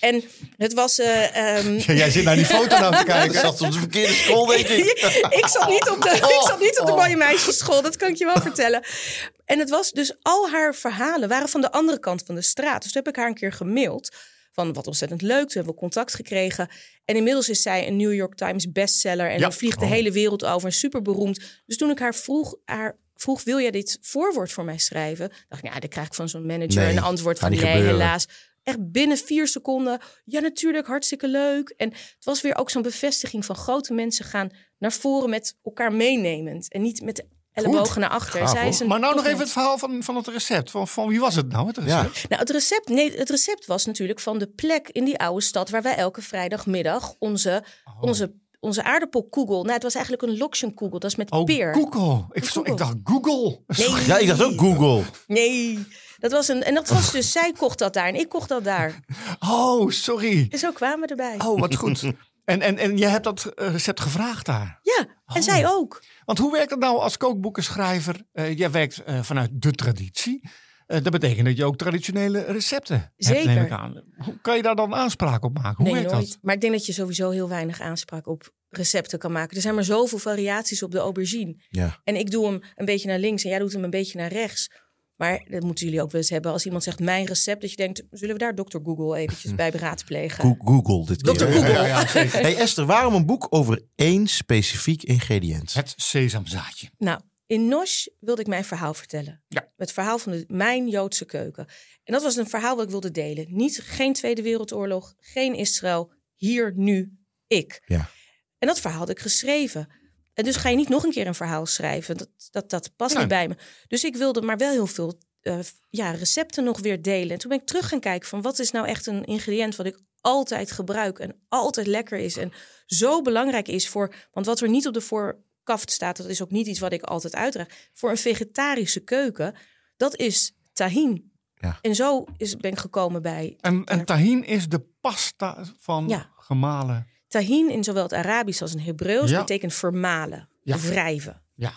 Speaker 2: En het was. eh, ehm,
Speaker 1: jij zit naar die foto nou te
Speaker 3: Kijk,
Speaker 1: kijken.
Speaker 3: zat op de verkeerde school, denk ik.
Speaker 2: ik zat niet op de,
Speaker 1: Oh.
Speaker 2: ik zat niet op de mooie meisjesschool, dat kan ik je wel vertellen. En het was dus al haar verhalen waren van de andere kant van de straat. Dus toen heb ik haar een keer gemaild van wat ontzettend leuk. Toen hebben we contact gekregen. En inmiddels is zij een New York Times bestseller en
Speaker 1: Ja.
Speaker 2: dan vliegt de
Speaker 1: Oh.
Speaker 2: hele wereld over en super beroemd. Dus toen ik haar vroeg, haar vroeg wil jij dit voorwoord voor mij schrijven? Dacht ik, ja, dan krijg ik van zo'n manager
Speaker 3: Nee,
Speaker 2: een antwoord
Speaker 3: gaat
Speaker 2: van
Speaker 3: niet
Speaker 2: nee,
Speaker 3: gebeuren.
Speaker 2: helaas. Echt binnen vier seconden. Ja, natuurlijk, hartstikke leuk. En het was weer ook zo'n bevestiging van grote mensen gaan naar voren met elkaar meenemend. En niet met de ellebogen naar achter.
Speaker 3: Gaaf,
Speaker 2: Zij is
Speaker 3: hoor.
Speaker 2: een
Speaker 1: Maar nou nog
Speaker 2: topmens.
Speaker 1: even het verhaal van, van het recept. Van, van wie was het nou, het
Speaker 3: Ja.
Speaker 1: recept?
Speaker 2: Nou, het recept, nee, het recept was natuurlijk van de plek in die oude stad waar wij elke vrijdagmiddag onze, onze, onze aardappelkoegel. Nou, het was eigenlijk een loksjenkoegel. Dat is met
Speaker 1: Oh,
Speaker 2: peer.
Speaker 1: Google. Ik, verstond- ik dacht Google.
Speaker 2: Nee.
Speaker 3: Ja, ik dacht ook Google.
Speaker 2: Nee, dat was een. En dat was dus, zij kocht dat daar en ik kocht dat daar.
Speaker 1: Oh, sorry.
Speaker 2: En zo kwamen we erbij.
Speaker 1: Oh, wat goed. En, en, en jij hebt dat eh, recept gevraagd daar.
Speaker 2: Ja, en zij ook.
Speaker 1: Want hoe werkt dat nou als kookboekenschrijver? Eh, jij werkt eh, vanuit de traditie. Eh, dat betekent dat je ook traditionele recepten hebt, neem
Speaker 2: Zeker.
Speaker 1: ik aan. Hoe kan je daar dan aanspraak op maken? Hoe
Speaker 2: nee,
Speaker 1: werkt
Speaker 2: nooit.
Speaker 1: dat?
Speaker 2: Maar ik denk dat je sowieso heel weinig aanspraak op recepten kan maken. Er zijn maar zoveel variaties op de aubergine.
Speaker 3: Ja.
Speaker 2: En ik doe hem een beetje naar links en jij doet hem een beetje naar rechts. Maar dat moeten jullie ook wel eens hebben. Als iemand zegt mijn recept, dat je denkt, zullen we daar dokter Google eventjes bij beraadplegen?
Speaker 3: Go- Google dit keer.
Speaker 2: Dr.
Speaker 3: Hm. Ja,
Speaker 2: Google.
Speaker 3: ja, ja. Hey Esther, waarom een boek over één specifiek ingrediënt?
Speaker 1: Het sesamzaadje.
Speaker 2: Nou, in Nosh wilde ik mijn verhaal vertellen.
Speaker 1: Ja.
Speaker 2: Het verhaal van de, mijn Joodse keuken. En dat was een verhaal dat ik wilde delen. Niet, geen Tweede Wereldoorlog, geen Israël. Hier, nu, ik.
Speaker 3: Ja.
Speaker 2: En dat verhaal had ik geschreven. En dus ga je niet nog een keer een verhaal schrijven. Dat, dat, dat past
Speaker 1: Nee.
Speaker 2: niet bij me. Dus ik wilde maar wel heel veel eh, ja, recepten nog weer delen. En toen ben ik terug gaan kijken van wat is nou echt een ingrediënt wat ik altijd gebruik en altijd lekker is en zo belangrijk is voor. Want wat er niet op de voorkaft staat, dat is ook niet iets wat ik altijd uitdraag. Voor een vegetarische keuken, dat is tahin.
Speaker 3: Ja.
Speaker 2: En zo is, ben ik gekomen bij
Speaker 1: En, en tahin is de pasta van
Speaker 2: Ja.
Speaker 1: gemalen.
Speaker 2: tahin in zowel het Arabisch als het Hebreeuws.
Speaker 1: Ja.
Speaker 2: betekent vermalen,
Speaker 1: Ja.
Speaker 2: wrijven.
Speaker 1: Ja.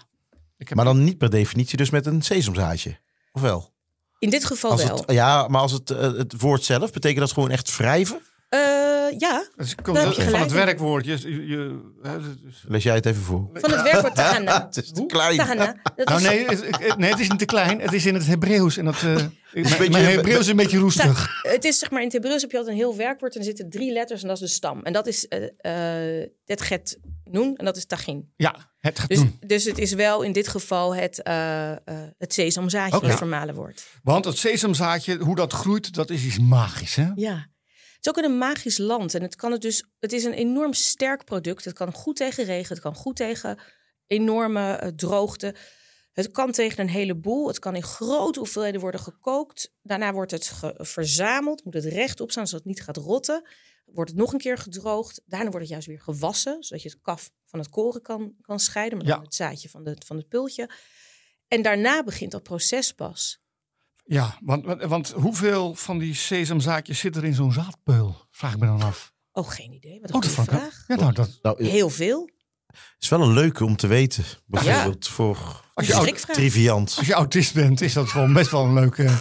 Speaker 1: Ik heb
Speaker 3: Maar dan niet per definitie dus met een sesamzaadje. Of wel?
Speaker 2: In dit geval
Speaker 3: Als
Speaker 2: wel.
Speaker 3: het, ja, maar als het, eh, het woord zelf, betekent dat gewoon echt wrijven?
Speaker 2: Eh, ja,
Speaker 1: Dus het komt
Speaker 2: Daar heb
Speaker 1: van
Speaker 2: je gelijk
Speaker 1: het
Speaker 2: in.
Speaker 1: werkwoord. Je, je, je- hè, dus- dat is-
Speaker 3: Lees jij het even voor.
Speaker 2: van het werkwoord tahana.
Speaker 3: Het is te klein.
Speaker 2: Tahana. Dat
Speaker 1: nou
Speaker 2: is-
Speaker 1: nee het, het- nee, het is niet te klein. Het is in het Hebreeuws. En dat, eh, mijn,
Speaker 3: beetje-
Speaker 1: mijn Hebreeuws is een beetje roestig.
Speaker 2: Het is zeg maar in het Hebreeuws heb je altijd een heel werkwoord en er zitten drie letters en dat is de stam. En dat is eh eh, het get noen en dat is tagin.
Speaker 1: Ja, het gaat
Speaker 2: Dus,
Speaker 1: doen.
Speaker 2: dus het is wel in dit geval het, eh eh, het sesamzaadje
Speaker 1: Oké.
Speaker 2: dat vermalen wordt.
Speaker 1: Want het sesamzaadje, hoe dat groeit, dat is iets magisch. Hè?
Speaker 2: Ja. Het is ook in een magisch land en het kan het dus. Het is een enorm sterk product. Het kan goed tegen regen, het kan goed tegen enorme eh, droogte. Het kan tegen een heleboel. Het kan in grote hoeveelheden worden gekookt. Daarna wordt het ge- verzameld. Moet het rechtop staan, zodat het niet gaat rotten. Wordt het nog een keer gedroogd. Daarna wordt het juist weer gewassen. Zodat je het kaf van het koren kan, kan scheiden. Maar dan
Speaker 1: Ja.
Speaker 2: het zaadje van, de, van het pultje. En daarna begint dat proces pas.
Speaker 1: Ja, want, want- want hoeveel van die sesamzaadjes zit er in zo'n zaadpeul? Vraag ik me dan af.
Speaker 2: Oh, geen idee. Wat een
Speaker 1: Oh, dat vond
Speaker 2: goede
Speaker 1: ik-
Speaker 2: vraag.
Speaker 1: Ja, nou, dat,
Speaker 3: Nou, het
Speaker 2: Heel veel.
Speaker 3: is wel een leuke om te weten. Bijvoorbeeld voor
Speaker 1: als, je
Speaker 2: Een
Speaker 1: oud,
Speaker 2: schrikvraag.
Speaker 3: triviant.
Speaker 1: als je autist bent, is dat gewoon best wel een leuk, eh,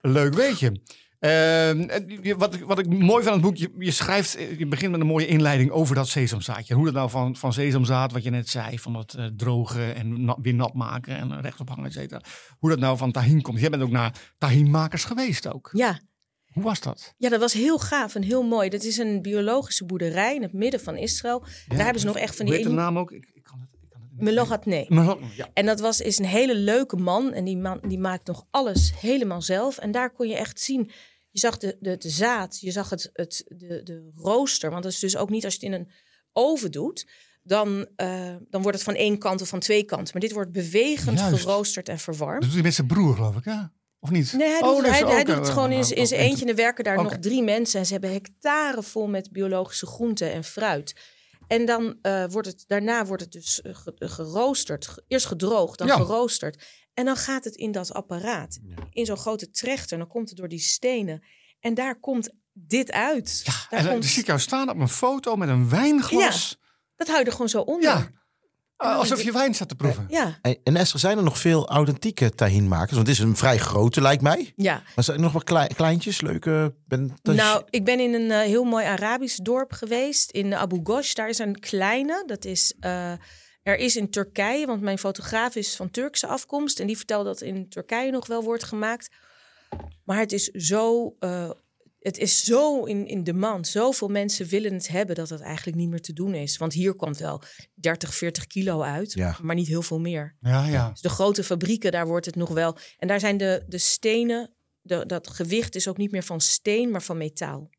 Speaker 1: een leuk weetje. Ehm, en je- wat, ik- wat ik mooi van het boek, je, je schrijft, eh, je begint met een mooie inleiding over dat sesamzaadje. Hoe dat nou van, van sesamzaad, wat je net zei, van dat eh, drogen en nat- weer nat maken en rechtop hangen, et cetera. Hoe dat nou van tahin komt. Jij bent ook naar tahinmakers geweest ook.
Speaker 2: Ja.
Speaker 1: Hoe was dat?
Speaker 2: Ja, dat was heel gaaf en heel mooi. Dat is een biologische boerderij in het midden van Israël. Daar hebben ze nog echt van
Speaker 1: Hoe heet de
Speaker 2: die...
Speaker 1: naam ook? Ik, ik kan het, ik kan het niet-
Speaker 2: Melogatne.
Speaker 1: Melon, ja.
Speaker 2: En dat was, is een hele leuke man. En die man die maakt nog alles helemaal zelf. En daar kon je echt zien. Je zag de, de, de zaad, je zag het, het, de, de rooster. Want dat is dus ook niet als je het in een oven doet. Dan, eh, dan wordt het van één kant of van twee kanten. Maar dit wordt bewegend
Speaker 1: Juist.
Speaker 2: geroosterd en verwarmd.
Speaker 1: Dat doet hij met zijn broer, geloof ik, ja? Of niet?
Speaker 2: Nee, hij
Speaker 1: Oh,
Speaker 2: doet,
Speaker 1: dat
Speaker 2: het,
Speaker 1: is
Speaker 2: hij,
Speaker 1: ook nou,
Speaker 2: hij
Speaker 1: een-
Speaker 2: doet het gewoon in, zijn- in zijn
Speaker 1: Oké.
Speaker 2: eentje. En er werken daar
Speaker 1: Oké.
Speaker 2: nog drie mensen. En ze hebben hectare vol met biologische groenten en fruit. En dan eh, wordt het, daarna wordt het dus eh, ge- eh, geroosterd. Ge- Eerst gedroogd, dan
Speaker 1: Ja.
Speaker 2: geroosterd. En dan gaat het in dat apparaat. In zo'n grote trechter. Dan komt het door die stenen. En daar komt dit uit. daar
Speaker 1: En eh, dan dus-
Speaker 2: komt-
Speaker 1: zie ik jou staan op een foto met een wijnglas.
Speaker 2: dat hou je er gewoon zo onder.
Speaker 1: Ja. Ah, alsof je wijn staat te proeven.
Speaker 2: Ja,
Speaker 3: En, en Esther, zijn er nog veel authentieke tahinmakers? Want dit is een vrij grote, lijkt mij.
Speaker 2: ja.
Speaker 3: Maar zijn er nog wat klei- kleintjes, leuke? Ben, tahi-
Speaker 2: Nou, ik ben in een eh, heel mooi Arabisch dorp geweest, in Abu Ghosh. Daar is een kleine, dat is... eh, er is in Turkije, want mijn fotograaf is van Turkse afkomst... en die vertelde dat in Turkije nog wel wordt gemaakt. Maar het is zo... eh, het is zo in, in demand. Zoveel mensen willen het hebben dat het eigenlijk niet meer te doen is. Want hier komt wel 30, 40 kilo uit,
Speaker 3: Ja.
Speaker 2: maar niet heel veel meer.
Speaker 1: Ja, ja.
Speaker 2: Dus de grote fabrieken, daar wordt het nog wel. En daar zijn de, de stenen, de, dat gewicht is ook niet meer van steen, maar van metaal.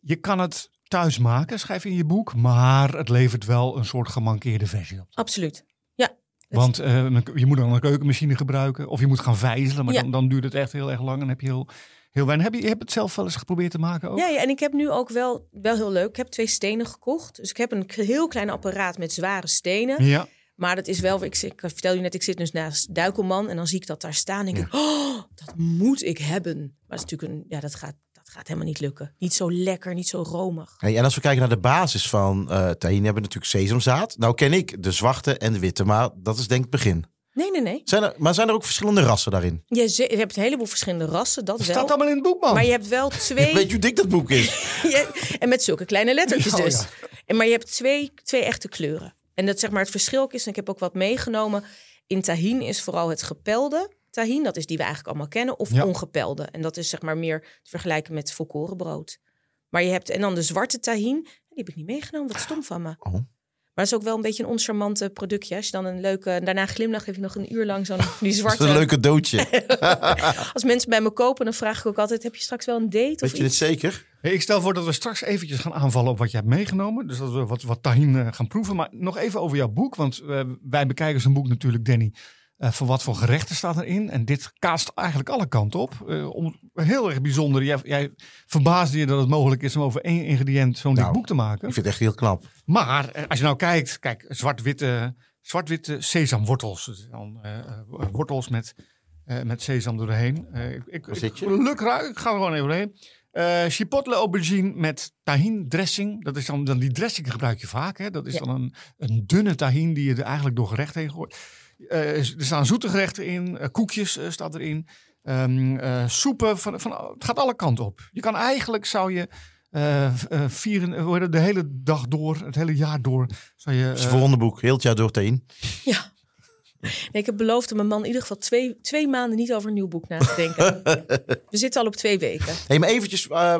Speaker 1: Je kan het thuis maken, schrijf je in je boek. Maar het levert wel een soort gemankeerde versie op.
Speaker 2: Absoluut. Ja.
Speaker 1: Want eh, dan- je moet dan een keukenmachine gebruiken. Of je moet gaan vijzelen. Maar
Speaker 2: Ja.
Speaker 1: dan, dan duurt het echt heel erg lang. En heb je heel, heel weinig. Heb je, je hebt het zelf wel eens geprobeerd te maken ook?
Speaker 2: Ja, ja, en ik heb nu ook wel, wel heel leuk. Ik heb twee stenen gekocht. Dus ik heb een k- heel klein apparaat met zware stenen.
Speaker 1: Ja.
Speaker 2: Maar dat is wel, ik, zit- ik vertel je net, ik zit dus naast Duikelman. En dan zie ik dat daar staan. En denk ik, oh, dat moet ik hebben. Maar dat, is natuurlijk een, ja, dat, gaat, dat gaat helemaal niet lukken. Niet zo lekker, niet zo romig.
Speaker 3: Hey, en als we kijken naar de basis van eh tahin, hebben we natuurlijk sesamzaad. Nou ken ik de zwarte en de witte, maar dat is denk ik het begin.
Speaker 2: Nee, nee, nee.
Speaker 3: Zijn er, maar zijn er ook verschillende rassen daarin?
Speaker 2: Je, ze- je hebt een heleboel verschillende rassen, dat
Speaker 1: Dat
Speaker 2: wel.
Speaker 1: staat allemaal in het boek, man.
Speaker 2: Maar je hebt wel twee...
Speaker 3: Weet je hoe dik dat boek is?
Speaker 2: Je- en met zulke kleine lettertjes
Speaker 1: Ja, oh
Speaker 2: dus.
Speaker 1: ja.
Speaker 2: En, maar je hebt twee, twee echte kleuren. En dat zeg maar het verschil is, en ik heb ook wat meegenomen. In tahin is vooral het gepelde tahin, dat is die we eigenlijk allemaal kennen, of
Speaker 1: Ja.
Speaker 2: ongepelde. En dat is zeg maar meer te vergelijken met volkorenbrood. Maar je hebt, en dan de zwarte tahin, die heb ik niet meegenomen, wat stom van me.
Speaker 3: Oh.
Speaker 2: Maar dat is ook wel een beetje een oncharmante productje. Als je dan een leuke, en daarna glimlach heb ik nog een uur lang zo'n die
Speaker 3: Dat is
Speaker 2: zwarte.
Speaker 3: een leuke doodje.
Speaker 2: Als mensen bij me kopen, dan vraag ik ook altijd, heb je straks wel een date of
Speaker 3: Weet je
Speaker 2: iets?
Speaker 3: dit zeker?
Speaker 1: Hey, ik stel voor dat we straks eventjes gaan aanvallen op wat je hebt meegenomen. Dus dat we wat, wat tahin eh, gaan proeven. Maar nog even over jouw boek. Want eh, wij bekijken zo'n boek natuurlijk, Danny. eh, voor wat voor gerechten staat erin. En dit kaast eigenlijk alle kanten op. Eh, om, heel erg bijzonder. Jij, jij verbaasde je dat het mogelijk is om over één ingrediënt zo'n
Speaker 3: Nou,
Speaker 1: dik boek te maken.
Speaker 3: Ik vind het echt heel knap.
Speaker 1: Maar eh, als je nou kijkt, kijk, zwart-witte zwart-witte sesamwortels. Dus dan, eh, eh, wortels met, eh, met sesam doorheen. Eh, ik, ik,
Speaker 3: Waar
Speaker 1: ik,
Speaker 3: zit je?
Speaker 1: luk raak, ik ga er gewoon even doorheen. Eh, chipotle aubergine met tahin dressing. Dat is dan, dan die dressing gebruik je vaak. Hè? Dat is
Speaker 2: Ja.
Speaker 1: dan een, een dunne tahin die je er eigenlijk door gerecht heen gooit. Eh, er staan zoete gerechten in, eh, koekjes eh, staat erin, Ehm, eh, soepen. Van, van, het gaat alle kanten op. Je kan eigenlijk, zou je eh, v- eh, vieren, eh, hoe heet het, de hele dag door, het hele jaar door, zou je...
Speaker 3: Dat is
Speaker 1: eh,
Speaker 3: het volgende boek, heel het jaar door tahin.
Speaker 2: Ja. Nee, ik heb beloofd om mijn man in ieder geval twee, twee maanden niet over een nieuw boek na te denken. We zitten al op twee weken.
Speaker 3: Hey, maar eventjes. eh,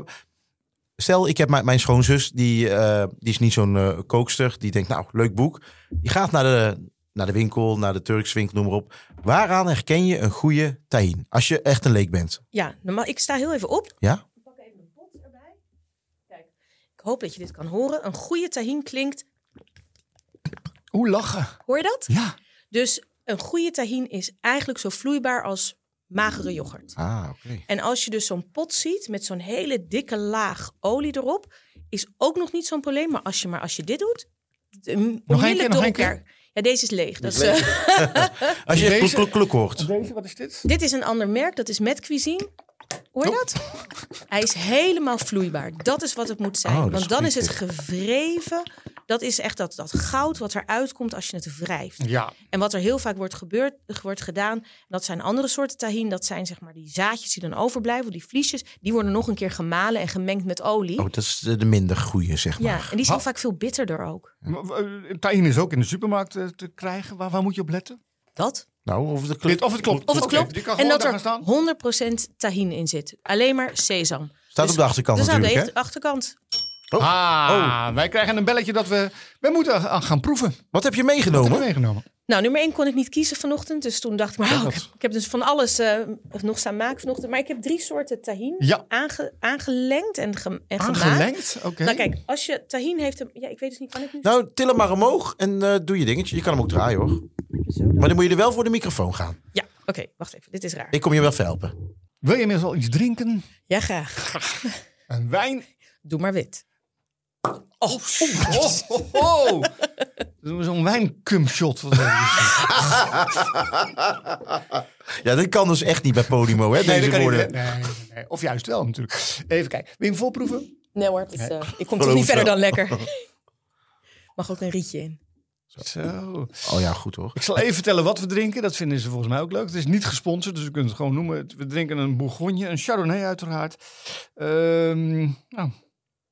Speaker 3: stel, ik heb mijn, mijn schoonzus, die, eh, die is niet zo'n eh, kookster. Die denkt, nou, leuk boek. Die gaat naar de, naar de winkel, naar de Turks winkel, noem maar op. Waaraan herken je een goede tahin? Als je echt een leek bent.
Speaker 2: Ja, normaal, ik sta heel even op.
Speaker 3: Ja?
Speaker 2: Ik pak even een pot erbij. Kijk, ik hoop dat je dit kan horen. Een goede tahin klinkt.
Speaker 1: Hoe lachen?
Speaker 2: Hoor je dat?
Speaker 1: Ja.
Speaker 2: Dus een goede tahin is eigenlijk zo vloeibaar als magere yoghurt.
Speaker 3: Ah, oké.
Speaker 2: En als je dus zo'n pot ziet met zo'n hele dikke laag olie erop, is ook nog niet zo'n probleem. Maar als je, maar als je dit doet,
Speaker 1: Nog één keer, nog één keer.
Speaker 2: Ja, deze is leeg. Dat is, eh,
Speaker 3: Als je
Speaker 1: Deze-
Speaker 3: echt klok, klok, klok hoort.
Speaker 1: Deze, wat is dit?
Speaker 2: Dit is een ander merk, dat is Met Cuisine. Hoor je
Speaker 3: Oh.
Speaker 2: dat? Hij is helemaal vloeibaar. Dat is wat het moet zijn.
Speaker 3: Oh, dat is
Speaker 2: Want dan is het
Speaker 3: goed,
Speaker 2: gewreven. Dat is echt dat, dat goud wat eruit komt als je het wrijft.
Speaker 1: Ja.
Speaker 2: En wat er heel vaak wordt, gebeurd, wordt gedaan, dat zijn andere soorten tahin. Dat zijn zeg maar die zaadjes die dan overblijven, die vliesjes. Die worden nog een keer gemalen en gemengd met olie.
Speaker 3: Oh, dat is de de minder goede, zeg maar.
Speaker 2: ja, en die zijn
Speaker 1: Ha-
Speaker 2: vaak veel bitterder ook.
Speaker 1: Maar, eh, Tahin is ook in de supermarkt eh, te krijgen. Waar, waar moet je op letten?
Speaker 2: Dat?
Speaker 3: Nou, of het klopt.
Speaker 1: Dit, of het klopt.
Speaker 2: Of het
Speaker 1: Oké,
Speaker 2: klopt.
Speaker 1: die kan
Speaker 2: en
Speaker 1: gewoon
Speaker 2: dat
Speaker 1: daar gaan staan.
Speaker 2: er 100% tahin in zit. Alleen maar sesam.
Speaker 3: Staat
Speaker 2: Dus-
Speaker 3: op de achterkant
Speaker 2: dus aan
Speaker 3: natuurlijk,
Speaker 2: de achterkant.
Speaker 3: Oh.
Speaker 1: Ah, wij krijgen een belletje dat we... We moeten gaan- gaan proeven.
Speaker 3: hè? Wat heb je
Speaker 1: Dat hebben
Speaker 3: meegenomen?
Speaker 1: we meegenomen.
Speaker 2: Nou, nummer één kon ik niet kiezen vanochtend. Dus toen dacht ik, maar, oh, ik, heb, ik heb dus van alles eh, nog staan maken vanochtend. Maar ik heb drie soorten tahin
Speaker 1: Ja.
Speaker 2: aange- aangelengd en, gem- en gemaakt.
Speaker 1: Aangelengd? Oké.
Speaker 2: Nou kijk, als je tahin heeft... Hem, ja, ik weet dus niet, kan ik nu
Speaker 3: Nou, til hem maar omhoog en eh, doe je dingetje. Je kan hem ook draaien, hoor.
Speaker 2: zo doen?
Speaker 3: Maar dan moet je er wel voor de microfoon gaan.
Speaker 2: Ja, oké, wacht even. Dit is raar.
Speaker 3: Ik kom je wel verhelpen.
Speaker 1: Wil je inmiddels al iets drinken?
Speaker 2: Ja, graag.
Speaker 1: Een wijn?
Speaker 2: Doe maar wit.
Speaker 1: Oh, oh, oh, oh. Doen we Zo'n wijncumshot. wat we hier zien.
Speaker 3: Ja, dat kan dus echt niet bij Podimo, hè,
Speaker 1: Nee, dat
Speaker 3: deze
Speaker 1: kan niet.
Speaker 3: woorden.
Speaker 1: Nee, nee, nee. Of juist wel natuurlijk. Even kijken. Wil je hem volproeven?
Speaker 2: Nee hoor, dat is, eh, ik kom toch
Speaker 3: Geloof
Speaker 2: niet verder
Speaker 3: wel.
Speaker 2: dan lekker. Mag ook een rietje in.
Speaker 1: Zo.
Speaker 3: Oh ja, goed hoor.
Speaker 1: Ik zal even vertellen wat we drinken. Dat vinden ze volgens mij ook leuk. Het is niet gesponsord, dus we kunnen het gewoon noemen. We drinken een Bourgogne, een Chardonnay uiteraard. Ehm nou,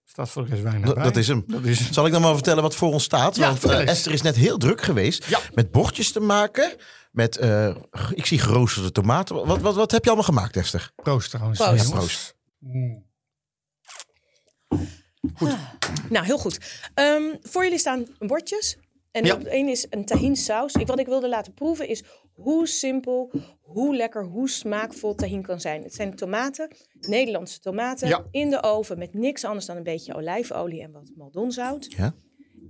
Speaker 1: staat voor de rest weinig
Speaker 3: Dat-
Speaker 1: bij.
Speaker 3: dat is hem.
Speaker 1: Dat is
Speaker 3: Zal ik dan maar vertellen wat voor ons staat?
Speaker 1: Ja,
Speaker 3: Want
Speaker 1: vertel
Speaker 3: eh,
Speaker 1: eens.
Speaker 3: Esther is net heel druk geweest
Speaker 1: Ja.
Speaker 3: met bordjes te maken. Met, eh, g- ik zie geroosterde tomaten. Wat, wat, wat heb je allemaal gemaakt, Esther?
Speaker 1: Proost trouwens.
Speaker 2: Proost.
Speaker 3: Ja,
Speaker 1: jongens. Mm.
Speaker 3: proost.
Speaker 2: Nou, heel goed. Ehm, voor jullie staan bordjes. En
Speaker 1: Ja.
Speaker 2: op één is een tahin saus. Ik, wat ik wilde laten proeven is hoe simpel, hoe lekker, hoe smaakvol tahin kan zijn. Het zijn tomaten, Nederlandse tomaten,
Speaker 1: Ja.
Speaker 2: in de oven met niks anders dan een beetje olijfolie en wat maldonzout.
Speaker 3: Ja.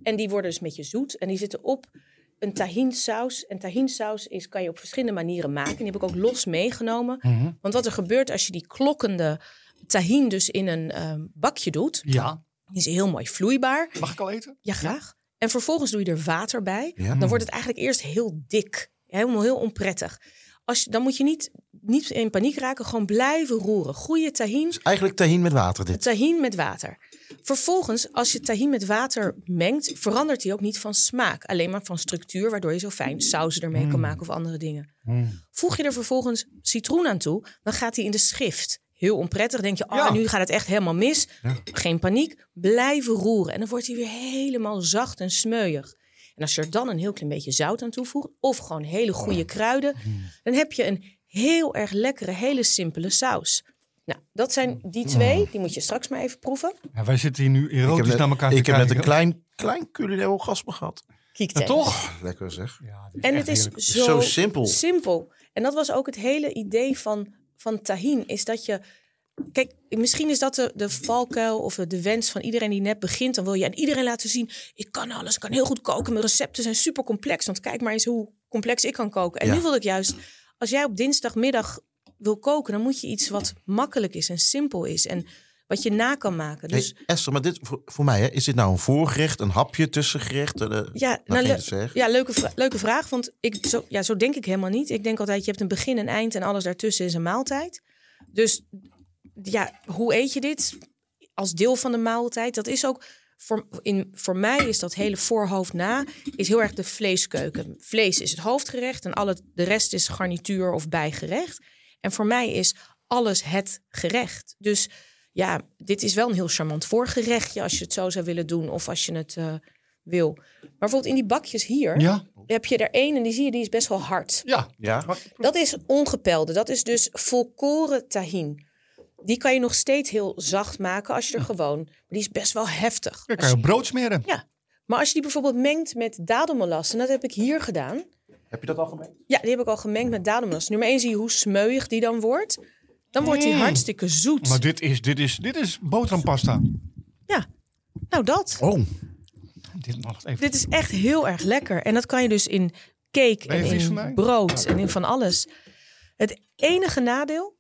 Speaker 2: En die worden dus een beetje zoet. En die zitten op een tahinsaus. En tahinsaus is, kan je op verschillende manieren maken. Die heb ik ook los meegenomen.
Speaker 1: Mhm.
Speaker 2: Want wat er gebeurt als je die klokkende tahin dus in een ehm, bakje doet.
Speaker 1: Ja,
Speaker 2: Die is heel mooi vloeibaar.
Speaker 1: mag ik al eten?
Speaker 2: Ja, graag. En vervolgens doe je er water bij.
Speaker 3: Ja.
Speaker 2: Dan wordt het eigenlijk eerst heel dik. Helemaal heel onprettig. Als je, dan moet je niet, niet in paniek raken. Gewoon blijven roeren. Goede tahin
Speaker 3: Eigenlijk tahin met water dit.
Speaker 2: Tahin met water. Vervolgens, als je tahin met water mengt, verandert die ook niet van smaak. Alleen maar van structuur, waardoor je zo fijn sauzen ermee kan maken of andere dingen.
Speaker 3: Mm.
Speaker 2: Voeg je er vervolgens citroen aan toe, dan gaat die in de schrift. Heel onprettig, denk je, oh,
Speaker 1: Ja.
Speaker 2: nu gaat het echt helemaal mis. Geen paniek, blijven roeren. En dan wordt hij weer helemaal zacht en smeuig. En als je er dan een heel klein beetje zout aan toevoegt, of gewoon hele
Speaker 1: Oh.
Speaker 2: goede kruiden,
Speaker 1: Mm.
Speaker 2: dan heb je een heel erg lekkere, hele simpele saus. Nou, dat zijn die
Speaker 1: Oh.
Speaker 2: twee. Die moet je straks maar even proeven.
Speaker 1: Ja, wij zitten hier nu
Speaker 3: Ik
Speaker 1: erotisch
Speaker 3: heb net,
Speaker 1: naar elkaar
Speaker 3: ik
Speaker 1: te
Speaker 3: heb net een
Speaker 1: kijken.
Speaker 3: klein, klein culinair orgasme gehad.
Speaker 2: Kiekten.
Speaker 1: Ja, toch?
Speaker 3: Lekker zeg.
Speaker 1: Ja, dit
Speaker 2: En
Speaker 1: echt
Speaker 2: het is
Speaker 1: heerlijk.
Speaker 2: zo,
Speaker 3: Zo simpel.
Speaker 2: simpel. En dat was ook het hele idee van, van tahin. Is dat je... Kijk, misschien is dat de, de valkuil of de wens van iedereen die net begint. Dan wil je aan iedereen laten zien... ik kan alles, ik kan heel goed koken. Mijn recepten zijn super complex. Want kijk maar eens hoe complex ik kan koken. En
Speaker 3: Ja.
Speaker 2: nu wil ik juist... Als jij op dinsdagmiddag wil koken... dan moet je iets wat makkelijk is en simpel is. En wat je na kan maken. Dus...
Speaker 3: Hey, Esther, maar dit voor, voor mij, hè, is dit nou een voorgerecht, een hapje, tussengerecht? eh, eh,
Speaker 2: Ja,
Speaker 3: nou,
Speaker 2: nou,
Speaker 3: geen
Speaker 2: le-
Speaker 3: dessert.
Speaker 2: ja leuke, vra- leuke vraag. Want ik, zo, ja, zo denk ik helemaal niet. Ik denk altijd, je hebt een begin en eind en alles daartussen is een maaltijd. Dus ja, hoe eet je dit? Als deel van de maaltijd. Dat is ook, voor, in, voor mij is dat hele voorhoofd na, is heel erg de vleeskeuken. Vlees is het hoofdgerecht en alle, de rest is garnituur of bijgerecht. En voor mij is alles het gerecht. Dus ja, dit is wel een heel charmant voorgerechtje als je het zo zou willen doen of als je het eh, wil. Maar bijvoorbeeld in die bakjes hier
Speaker 1: Ja,
Speaker 2: heb je er één en die zie je, die is best wel hard.
Speaker 1: ja.
Speaker 3: Ja.
Speaker 2: Dat is ongepelde. Dat is dus volkoren tahin. Die kan je nog steeds heel zacht maken als je er gewoon. Maar die is best wel heftig.
Speaker 1: Dan kan
Speaker 2: Als
Speaker 1: je
Speaker 2: je-
Speaker 1: op brood smeren.
Speaker 2: ja. Maar als je die bijvoorbeeld mengt met dadelmelast, en dat heb ik hier gedaan.
Speaker 3: Heb je dat al gemengd?
Speaker 2: Ja, die heb ik al gemengd met dadelmelast. Nummer 1 zie je hoe smeuig die dan wordt. Dan wordt die
Speaker 1: Mm.
Speaker 2: hartstikke zoet.
Speaker 1: Maar dit is, dit is, dit is boterhampasta.
Speaker 2: Ja, nou dat.
Speaker 3: Oh,
Speaker 1: Dit mag even.
Speaker 2: Dit is echt heel erg lekker. En dat kan je dus in cake
Speaker 1: Ben je
Speaker 2: en
Speaker 1: vies van mij? Nou.
Speaker 2: in brood en in van alles. Het enige nadeel,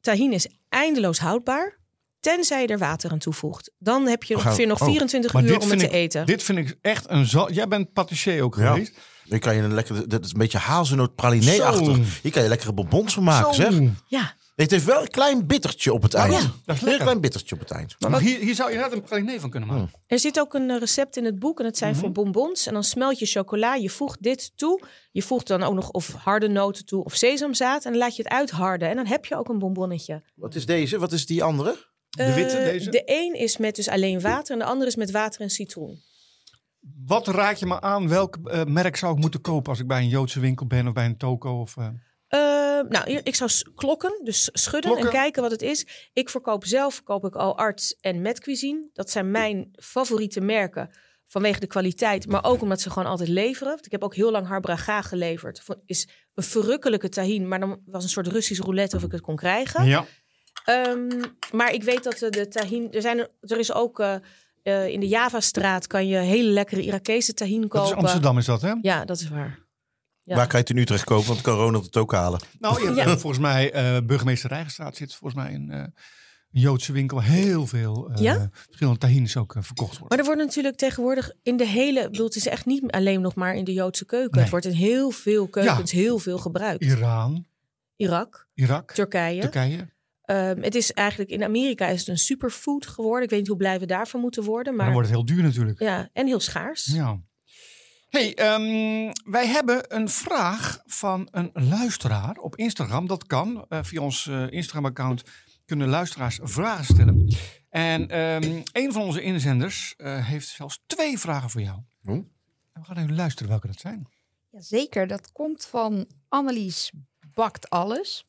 Speaker 2: tahin is eindeloos houdbaar. Tenzij je er water aan toevoegt. Dan heb je
Speaker 3: Oh,
Speaker 2: ongeveer nog
Speaker 3: oh.
Speaker 2: 24 uur om het
Speaker 1: vind
Speaker 2: te
Speaker 1: ik,
Speaker 2: eten.
Speaker 1: dit vind ik echt een... za- Jij bent patissier ook
Speaker 3: Ja.
Speaker 1: geweest.
Speaker 3: Hier kan je een lekker, dat is een beetje hazelnoot praliné achtig.
Speaker 1: Zo.
Speaker 3: Hier kan je lekkere bonbons van maken, zeg.
Speaker 2: Ja,
Speaker 3: Het heeft wel een klein bittertje op het eind.
Speaker 2: ja,
Speaker 3: Een
Speaker 2: dat
Speaker 1: is
Speaker 3: heel
Speaker 1: lekker.
Speaker 3: klein bittertje op het eind.
Speaker 1: Nou, hier, hier zou je inderdaad een praliné van kunnen maken.
Speaker 2: er zit ook een eh, recept in het boek. En het
Speaker 1: Mhm.
Speaker 2: zijn voor bonbons. En dan smelt je chocola. Je voegt dit toe. Je voegt dan ook nog of harde noten toe of sesamzaad. En dan laat je het uitharden. En dan heb je ook een bonbonnetje.
Speaker 3: Wat is deze? Wat is die andere?
Speaker 1: De witte,
Speaker 2: Eh,
Speaker 1: deze?
Speaker 2: De een is met dus alleen water. En de andere is met water en citroen.
Speaker 1: Wat raad je me aan? Welk eh, merk zou ik moeten kopen als ik bij een Joodse winkel ben of bij een toko? Of, eh,
Speaker 2: Eh, nou, hier- ik zou s- klokken, dus schudden en
Speaker 1: Klokken.
Speaker 2: kijken wat het is. Ik verkoop zelf, verkoop ik al arts en met cuisine. Dat zijn mijn favoriete merken vanwege de kwaliteit, maar ook omdat ze gewoon altijd leveren. Want Ik heb ook heel lang Harbraga geleverd. Vo- Is een verrukkelijke tahin, maar dan was een soort Russisch roulette of ik het kon krijgen.
Speaker 1: Ja.
Speaker 2: Ehm, maar ik weet dat eh, de tahin, er, zijn er, er is ook eh, eh, in de Javastraat kan je hele lekkere Irakese tahin kopen.
Speaker 1: Dat is Amsterdam is dat, hè?
Speaker 2: Ja, dat is waar. Ja.
Speaker 3: Waar kan je het in Utrecht kopen? Want kan Ronald het ook halen.
Speaker 1: Nou, je hebt,
Speaker 2: Ja.
Speaker 1: eh, volgens mij, eh burgemeester Rijgenstraat zit volgens mij in eh, een Joodse winkel. Heel veel eh,
Speaker 2: Ja?
Speaker 1: verschillende tahines ook eh, verkocht worden.
Speaker 2: Maar er wordt natuurlijk tegenwoordig in de hele... Ik bedoel, het is echt niet alleen nog maar in de Joodse keuken.
Speaker 1: Nee.
Speaker 2: Het wordt in heel veel keukens heel veel gebruikt.
Speaker 1: Iran,
Speaker 2: Irak,
Speaker 1: Irak,
Speaker 2: Turkije.
Speaker 1: Turkije.
Speaker 2: Ehm, het is eigenlijk... In Amerika is het een superfood geworden. Ik weet niet hoe blij we daarvan moeten worden.
Speaker 1: Maar dan
Speaker 2: Maar
Speaker 1: wordt het heel duur natuurlijk.
Speaker 2: ja, en heel schaars.
Speaker 1: Ja. Hey, ehm, wij hebben een vraag van een luisteraar op Instagram. Dat kan. Eh, via ons eh, Instagram-account kunnen luisteraars vragen stellen. En ehm, een van onze inzenders eh, heeft zelfs twee vragen voor jou.
Speaker 3: Oh.
Speaker 1: En we gaan even luisteren welke dat zijn.
Speaker 4: Jazeker, dat komt van Annelies Bakt Alles.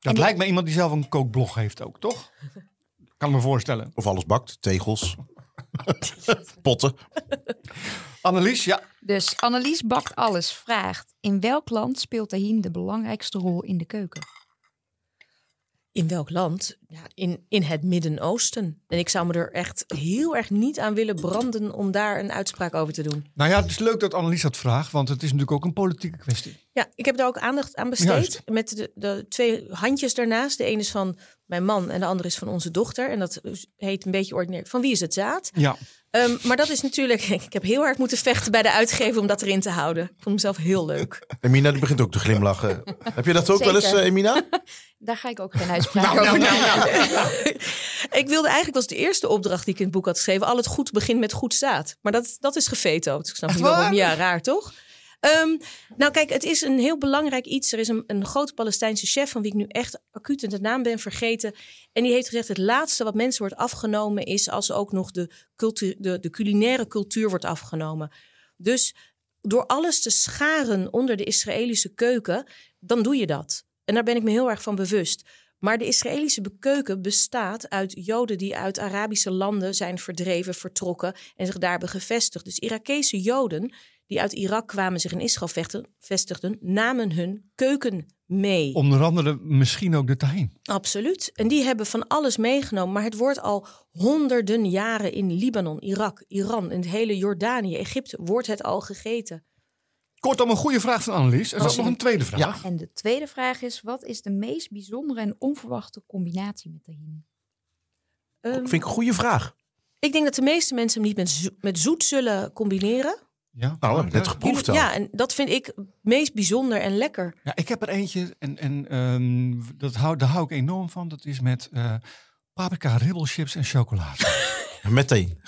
Speaker 1: Dat
Speaker 4: die-
Speaker 1: lijkt me iemand die zelf een kookblog heeft ook, toch? Kan me voorstellen.
Speaker 3: Of alles bakt, tegels, potten.
Speaker 1: Annelies, ja.
Speaker 4: Dus Annelies Bakt Alles vraagt: In welk land speelt tahin de belangrijkste rol in de keuken?
Speaker 2: In welk land? Ja, in, in het Midden-Oosten. En ik zou me er echt heel erg niet aan willen branden om daar een uitspraak over te doen.
Speaker 1: Nou ja, het is leuk dat Annelies dat vraagt, want het is natuurlijk ook een politieke kwestie.
Speaker 2: Ja, ik heb daar ook aandacht aan besteed.
Speaker 1: Juist.
Speaker 2: Met de, de twee handjes daarnaast. De ene is van mijn man en de andere is van onze dochter. En dat heet een beetje ordinair. Van wie is het zaad?
Speaker 1: Ja.
Speaker 2: Ehm, maar dat is natuurlijk. Ik heb heel hard moeten vechten bij de uitgever om dat erin te houden. Ik vond mezelf heel leuk.
Speaker 3: Emina die begint ook te glimlachen. Heb je dat ook wel eens,
Speaker 4: Zeker.
Speaker 3: eh, Emina?
Speaker 4: Daar ga ik ook geen uitspraak
Speaker 1: Nou, nou,
Speaker 4: over
Speaker 1: nou,
Speaker 4: doen.
Speaker 2: ik wilde eigenlijk, was de eerste opdracht die ik in het boek had geschreven. Al het goed begint met goed zaad. Maar dat, dat is gevetood. Ik snap
Speaker 1: Echt
Speaker 2: niet waarom.
Speaker 1: waar?
Speaker 2: Ja, raar toch? Ehm, nou kijk, het is een heel belangrijk iets. Er is een, een grote Palestijnse chef van wie ik nu echt acuut de naam ben vergeten. En die heeft gezegd, het laatste wat mensen wordt afgenomen is als ook nog de, cultu- de, de culinaire cultuur wordt afgenomen. Dus door alles te scharen onder de Israëlische keuken, dan doe je dat. En daar ben ik me heel erg van bewust. Maar de Israëlische be- keuken bestaat uit Joden die uit Arabische landen zijn verdreven, vertrokken en zich daar hebben gevestigd. Dus Irakese Joden die uit Irak kwamen, zich in Israël vechten- vestigden, namen hun keuken mee.
Speaker 1: Onder andere misschien ook de tahin.
Speaker 2: Absoluut. En die hebben van alles meegenomen. Maar het wordt al honderden jaren in Libanon, Irak, Iran, in het hele Jordanië, Egypte, wordt het al gegeten.
Speaker 1: Kortom, een goede vraag van Annelies. Er zat nog een tweede vraag.
Speaker 2: Ehm,
Speaker 3: Ja.
Speaker 4: En de tweede vraag is: Wat is de meest bijzondere en onverwachte combinatie met tahin?
Speaker 2: Ehm,
Speaker 3: Vind ik een goede vraag. Nou,
Speaker 2: Ik denk dat de meeste mensen hem niet met, zo- met zoet zullen combineren.
Speaker 1: Ja,
Speaker 3: Nou, we
Speaker 1: maar,
Speaker 3: hebben net
Speaker 1: ja.
Speaker 3: geproefd al.
Speaker 2: Ja, en dat vind ik het meest bijzonder en lekker.
Speaker 1: Ja, ik heb er eentje en, en ehm, dat hou, daar hou ik enorm van. Dat is met eh, paprika, ribbelchips en chocolade.
Speaker 3: Meteen.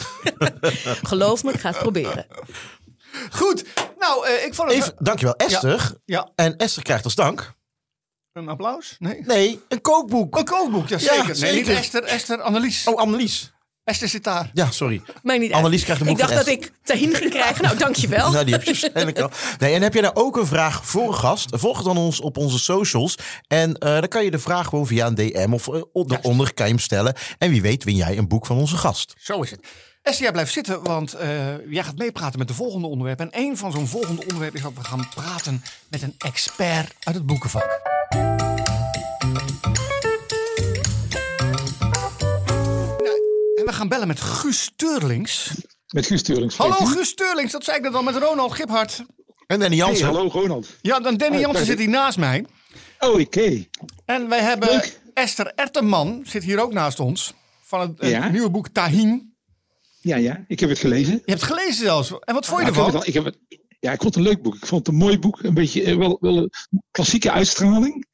Speaker 2: Geloof me, ik ga het proberen.
Speaker 1: Goed, nou, eh, ik vond het...
Speaker 3: Even, dankjewel, Esther.
Speaker 1: Ja,
Speaker 3: En Esther krijgt als dank.
Speaker 1: een applaus? Nee?
Speaker 3: Nee, een kookboek.
Speaker 1: Een kookboek, ja zeker. Nee, niet
Speaker 3: zeker.
Speaker 1: Esther, Esther, Annelies.
Speaker 3: Oh, Annelies.
Speaker 1: Esther zit daar.
Speaker 3: Ja, sorry.
Speaker 2: Maar niet uit.
Speaker 3: Annelies krijgt een
Speaker 2: Ik
Speaker 3: boek
Speaker 2: dacht
Speaker 3: van
Speaker 2: dat
Speaker 3: Esther.
Speaker 2: ik tahin ging krijgen. Nou, dankjewel.
Speaker 3: Nou, die heb je waarschijnlijk al. Nee, en heb jij nou ook een vraag voor een gast? Volg dan ons op onze socials. En eh, dan kan je de vraag gewoon via een DM of eh, op daaronder kan je hem stellen. En wie weet win jij een boek van onze gast.
Speaker 1: Zo is het. Esther, jij blijft zitten, want eh, jij gaat meepraten met de volgende onderwerpen. En één van zo'n volgende onderwerpen is dat we gaan praten met een expert uit het boekenvak. Nou, En we gaan bellen met Guus Steurlings.
Speaker 5: Met Guus Teurlings.
Speaker 1: Hallo Guus Teurlings, dat zei ik net al met Ronald Giphart.
Speaker 3: En Danny Jansen.
Speaker 5: hallo Ronald.
Speaker 1: Ja, dan Danny
Speaker 5: Oh,
Speaker 1: Jansen
Speaker 5: daar
Speaker 1: zit hier naast mij.
Speaker 5: Oh, oké.
Speaker 1: En wij hebben
Speaker 5: Leuk.
Speaker 1: Esther Erteman, zit hier ook naast ons. Van het, eh,
Speaker 5: Ja.
Speaker 1: nieuwe boek Tahin.
Speaker 5: Ja, ja, ik heb het gelezen.
Speaker 1: Je hebt het gelezen zelfs. En wat vond je
Speaker 5: Ja, ik vond het
Speaker 1: ervan?
Speaker 5: wel- ik heb het, ja, ik vond het een leuk boek. Ik vond het een mooi boek. Een beetje eh, wel, wel een klassieke uitstraling.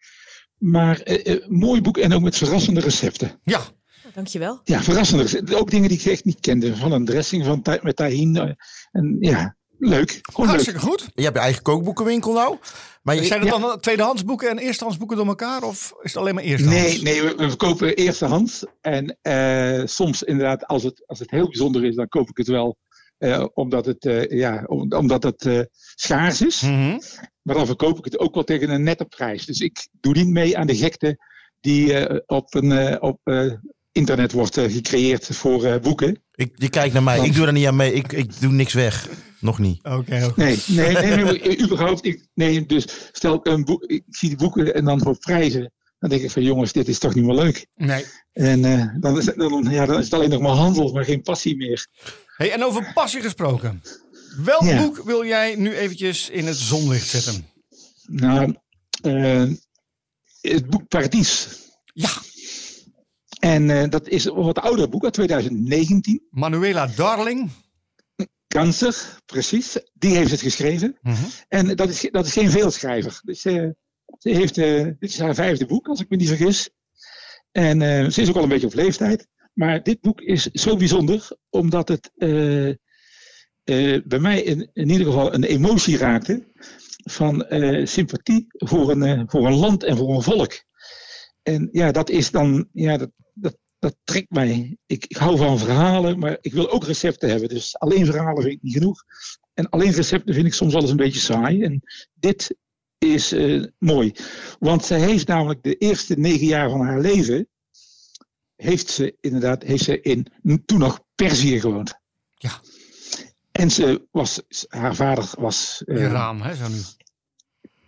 Speaker 5: Maar eh, eh, mooi boek en ook met verrassende recepten.
Speaker 1: Ja,
Speaker 2: Nou, Dankjewel.
Speaker 5: Ja, verrassende recepten. Ook dingen die ik echt niet kende. Van een dressing van ta- met tahin. eh, En ja, leuk. Gewoon leuk.
Speaker 1: hartstikke goed.
Speaker 3: Je hebt je eigen kookboekenwinkel nou. Maar je,
Speaker 1: Zijn dat dan tweedehands boeken en eerstehands boeken door elkaar? Of is het alleen maar eerstehands?
Speaker 5: Nee, nee we, we verkopen eerstehands. En eh, soms inderdaad, als het, als het heel bijzonder is, dan koop ik het wel. eh, omdat het, eh, ja, om- omdat het eh, schaars is.
Speaker 1: Mhm.
Speaker 5: Maar dan verkoop ik het ook wel tegen een nette prijs. Dus ik doe niet mee aan de gekte die eh, op, een, eh, op eh, internet wordt eh, gecreëerd voor eh, boeken.
Speaker 3: ik, je kijkt naar mij. Ik doe daar niet aan mee. Ik, ik doe niks weg. Nog niet.
Speaker 1: Oké, heel goed.
Speaker 5: Nee, nee, nee, nee, nee, überhaupt. Ik, nee, dus stel een boek, ik zie die boeken en dan voor prijzen. Dan denk ik van jongens, dit is toch niet meer leuk.
Speaker 1: Nee.
Speaker 5: En eh, dan, is, het- dan, ja, dan is het alleen nog maar handel, maar geen passie meer.
Speaker 1: Hey, en over passie gesproken. Welk
Speaker 5: Ja.
Speaker 1: boek wil jij nu eventjes in het zonlicht zetten?
Speaker 5: Nou, eh, het boek Paradies.
Speaker 1: Ja,
Speaker 5: En eh, dat is een wat ouder boek, uit 2019.
Speaker 1: Manuela Darling.
Speaker 5: Kanser, precies. Die heeft het geschreven.
Speaker 1: Mhm.
Speaker 5: En dat is, ge- dat is geen veelschrijver. Dus, eh, ze heeft, eh, dit is haar vijfde boek, als ik me niet vergis. En eh, ze is ook al een beetje op leeftijd. Maar dit boek is zo bijzonder, omdat het eh, eh, bij mij in, in ieder geval een emotie raakte van eh, sympathie voor een, eh, voor een land en voor een volk. En ja, dat is dan, ja, dat, dat, dat trekt mij. Ik, ik hou van verhalen, maar ik wil ook recepten hebben. Dus alleen verhalen vind ik niet genoeg. En alleen recepten vind ik soms wel eens een beetje saai. En dit is eh, mooi. Want zij heeft namelijk de eerste negen jaar van haar leven. Heeft ze inderdaad heeft ze in toen nog Perzië gewoond.
Speaker 1: Ja.
Speaker 5: En ze was, haar vader was. eh,
Speaker 1: Je raam, hè, zo nu.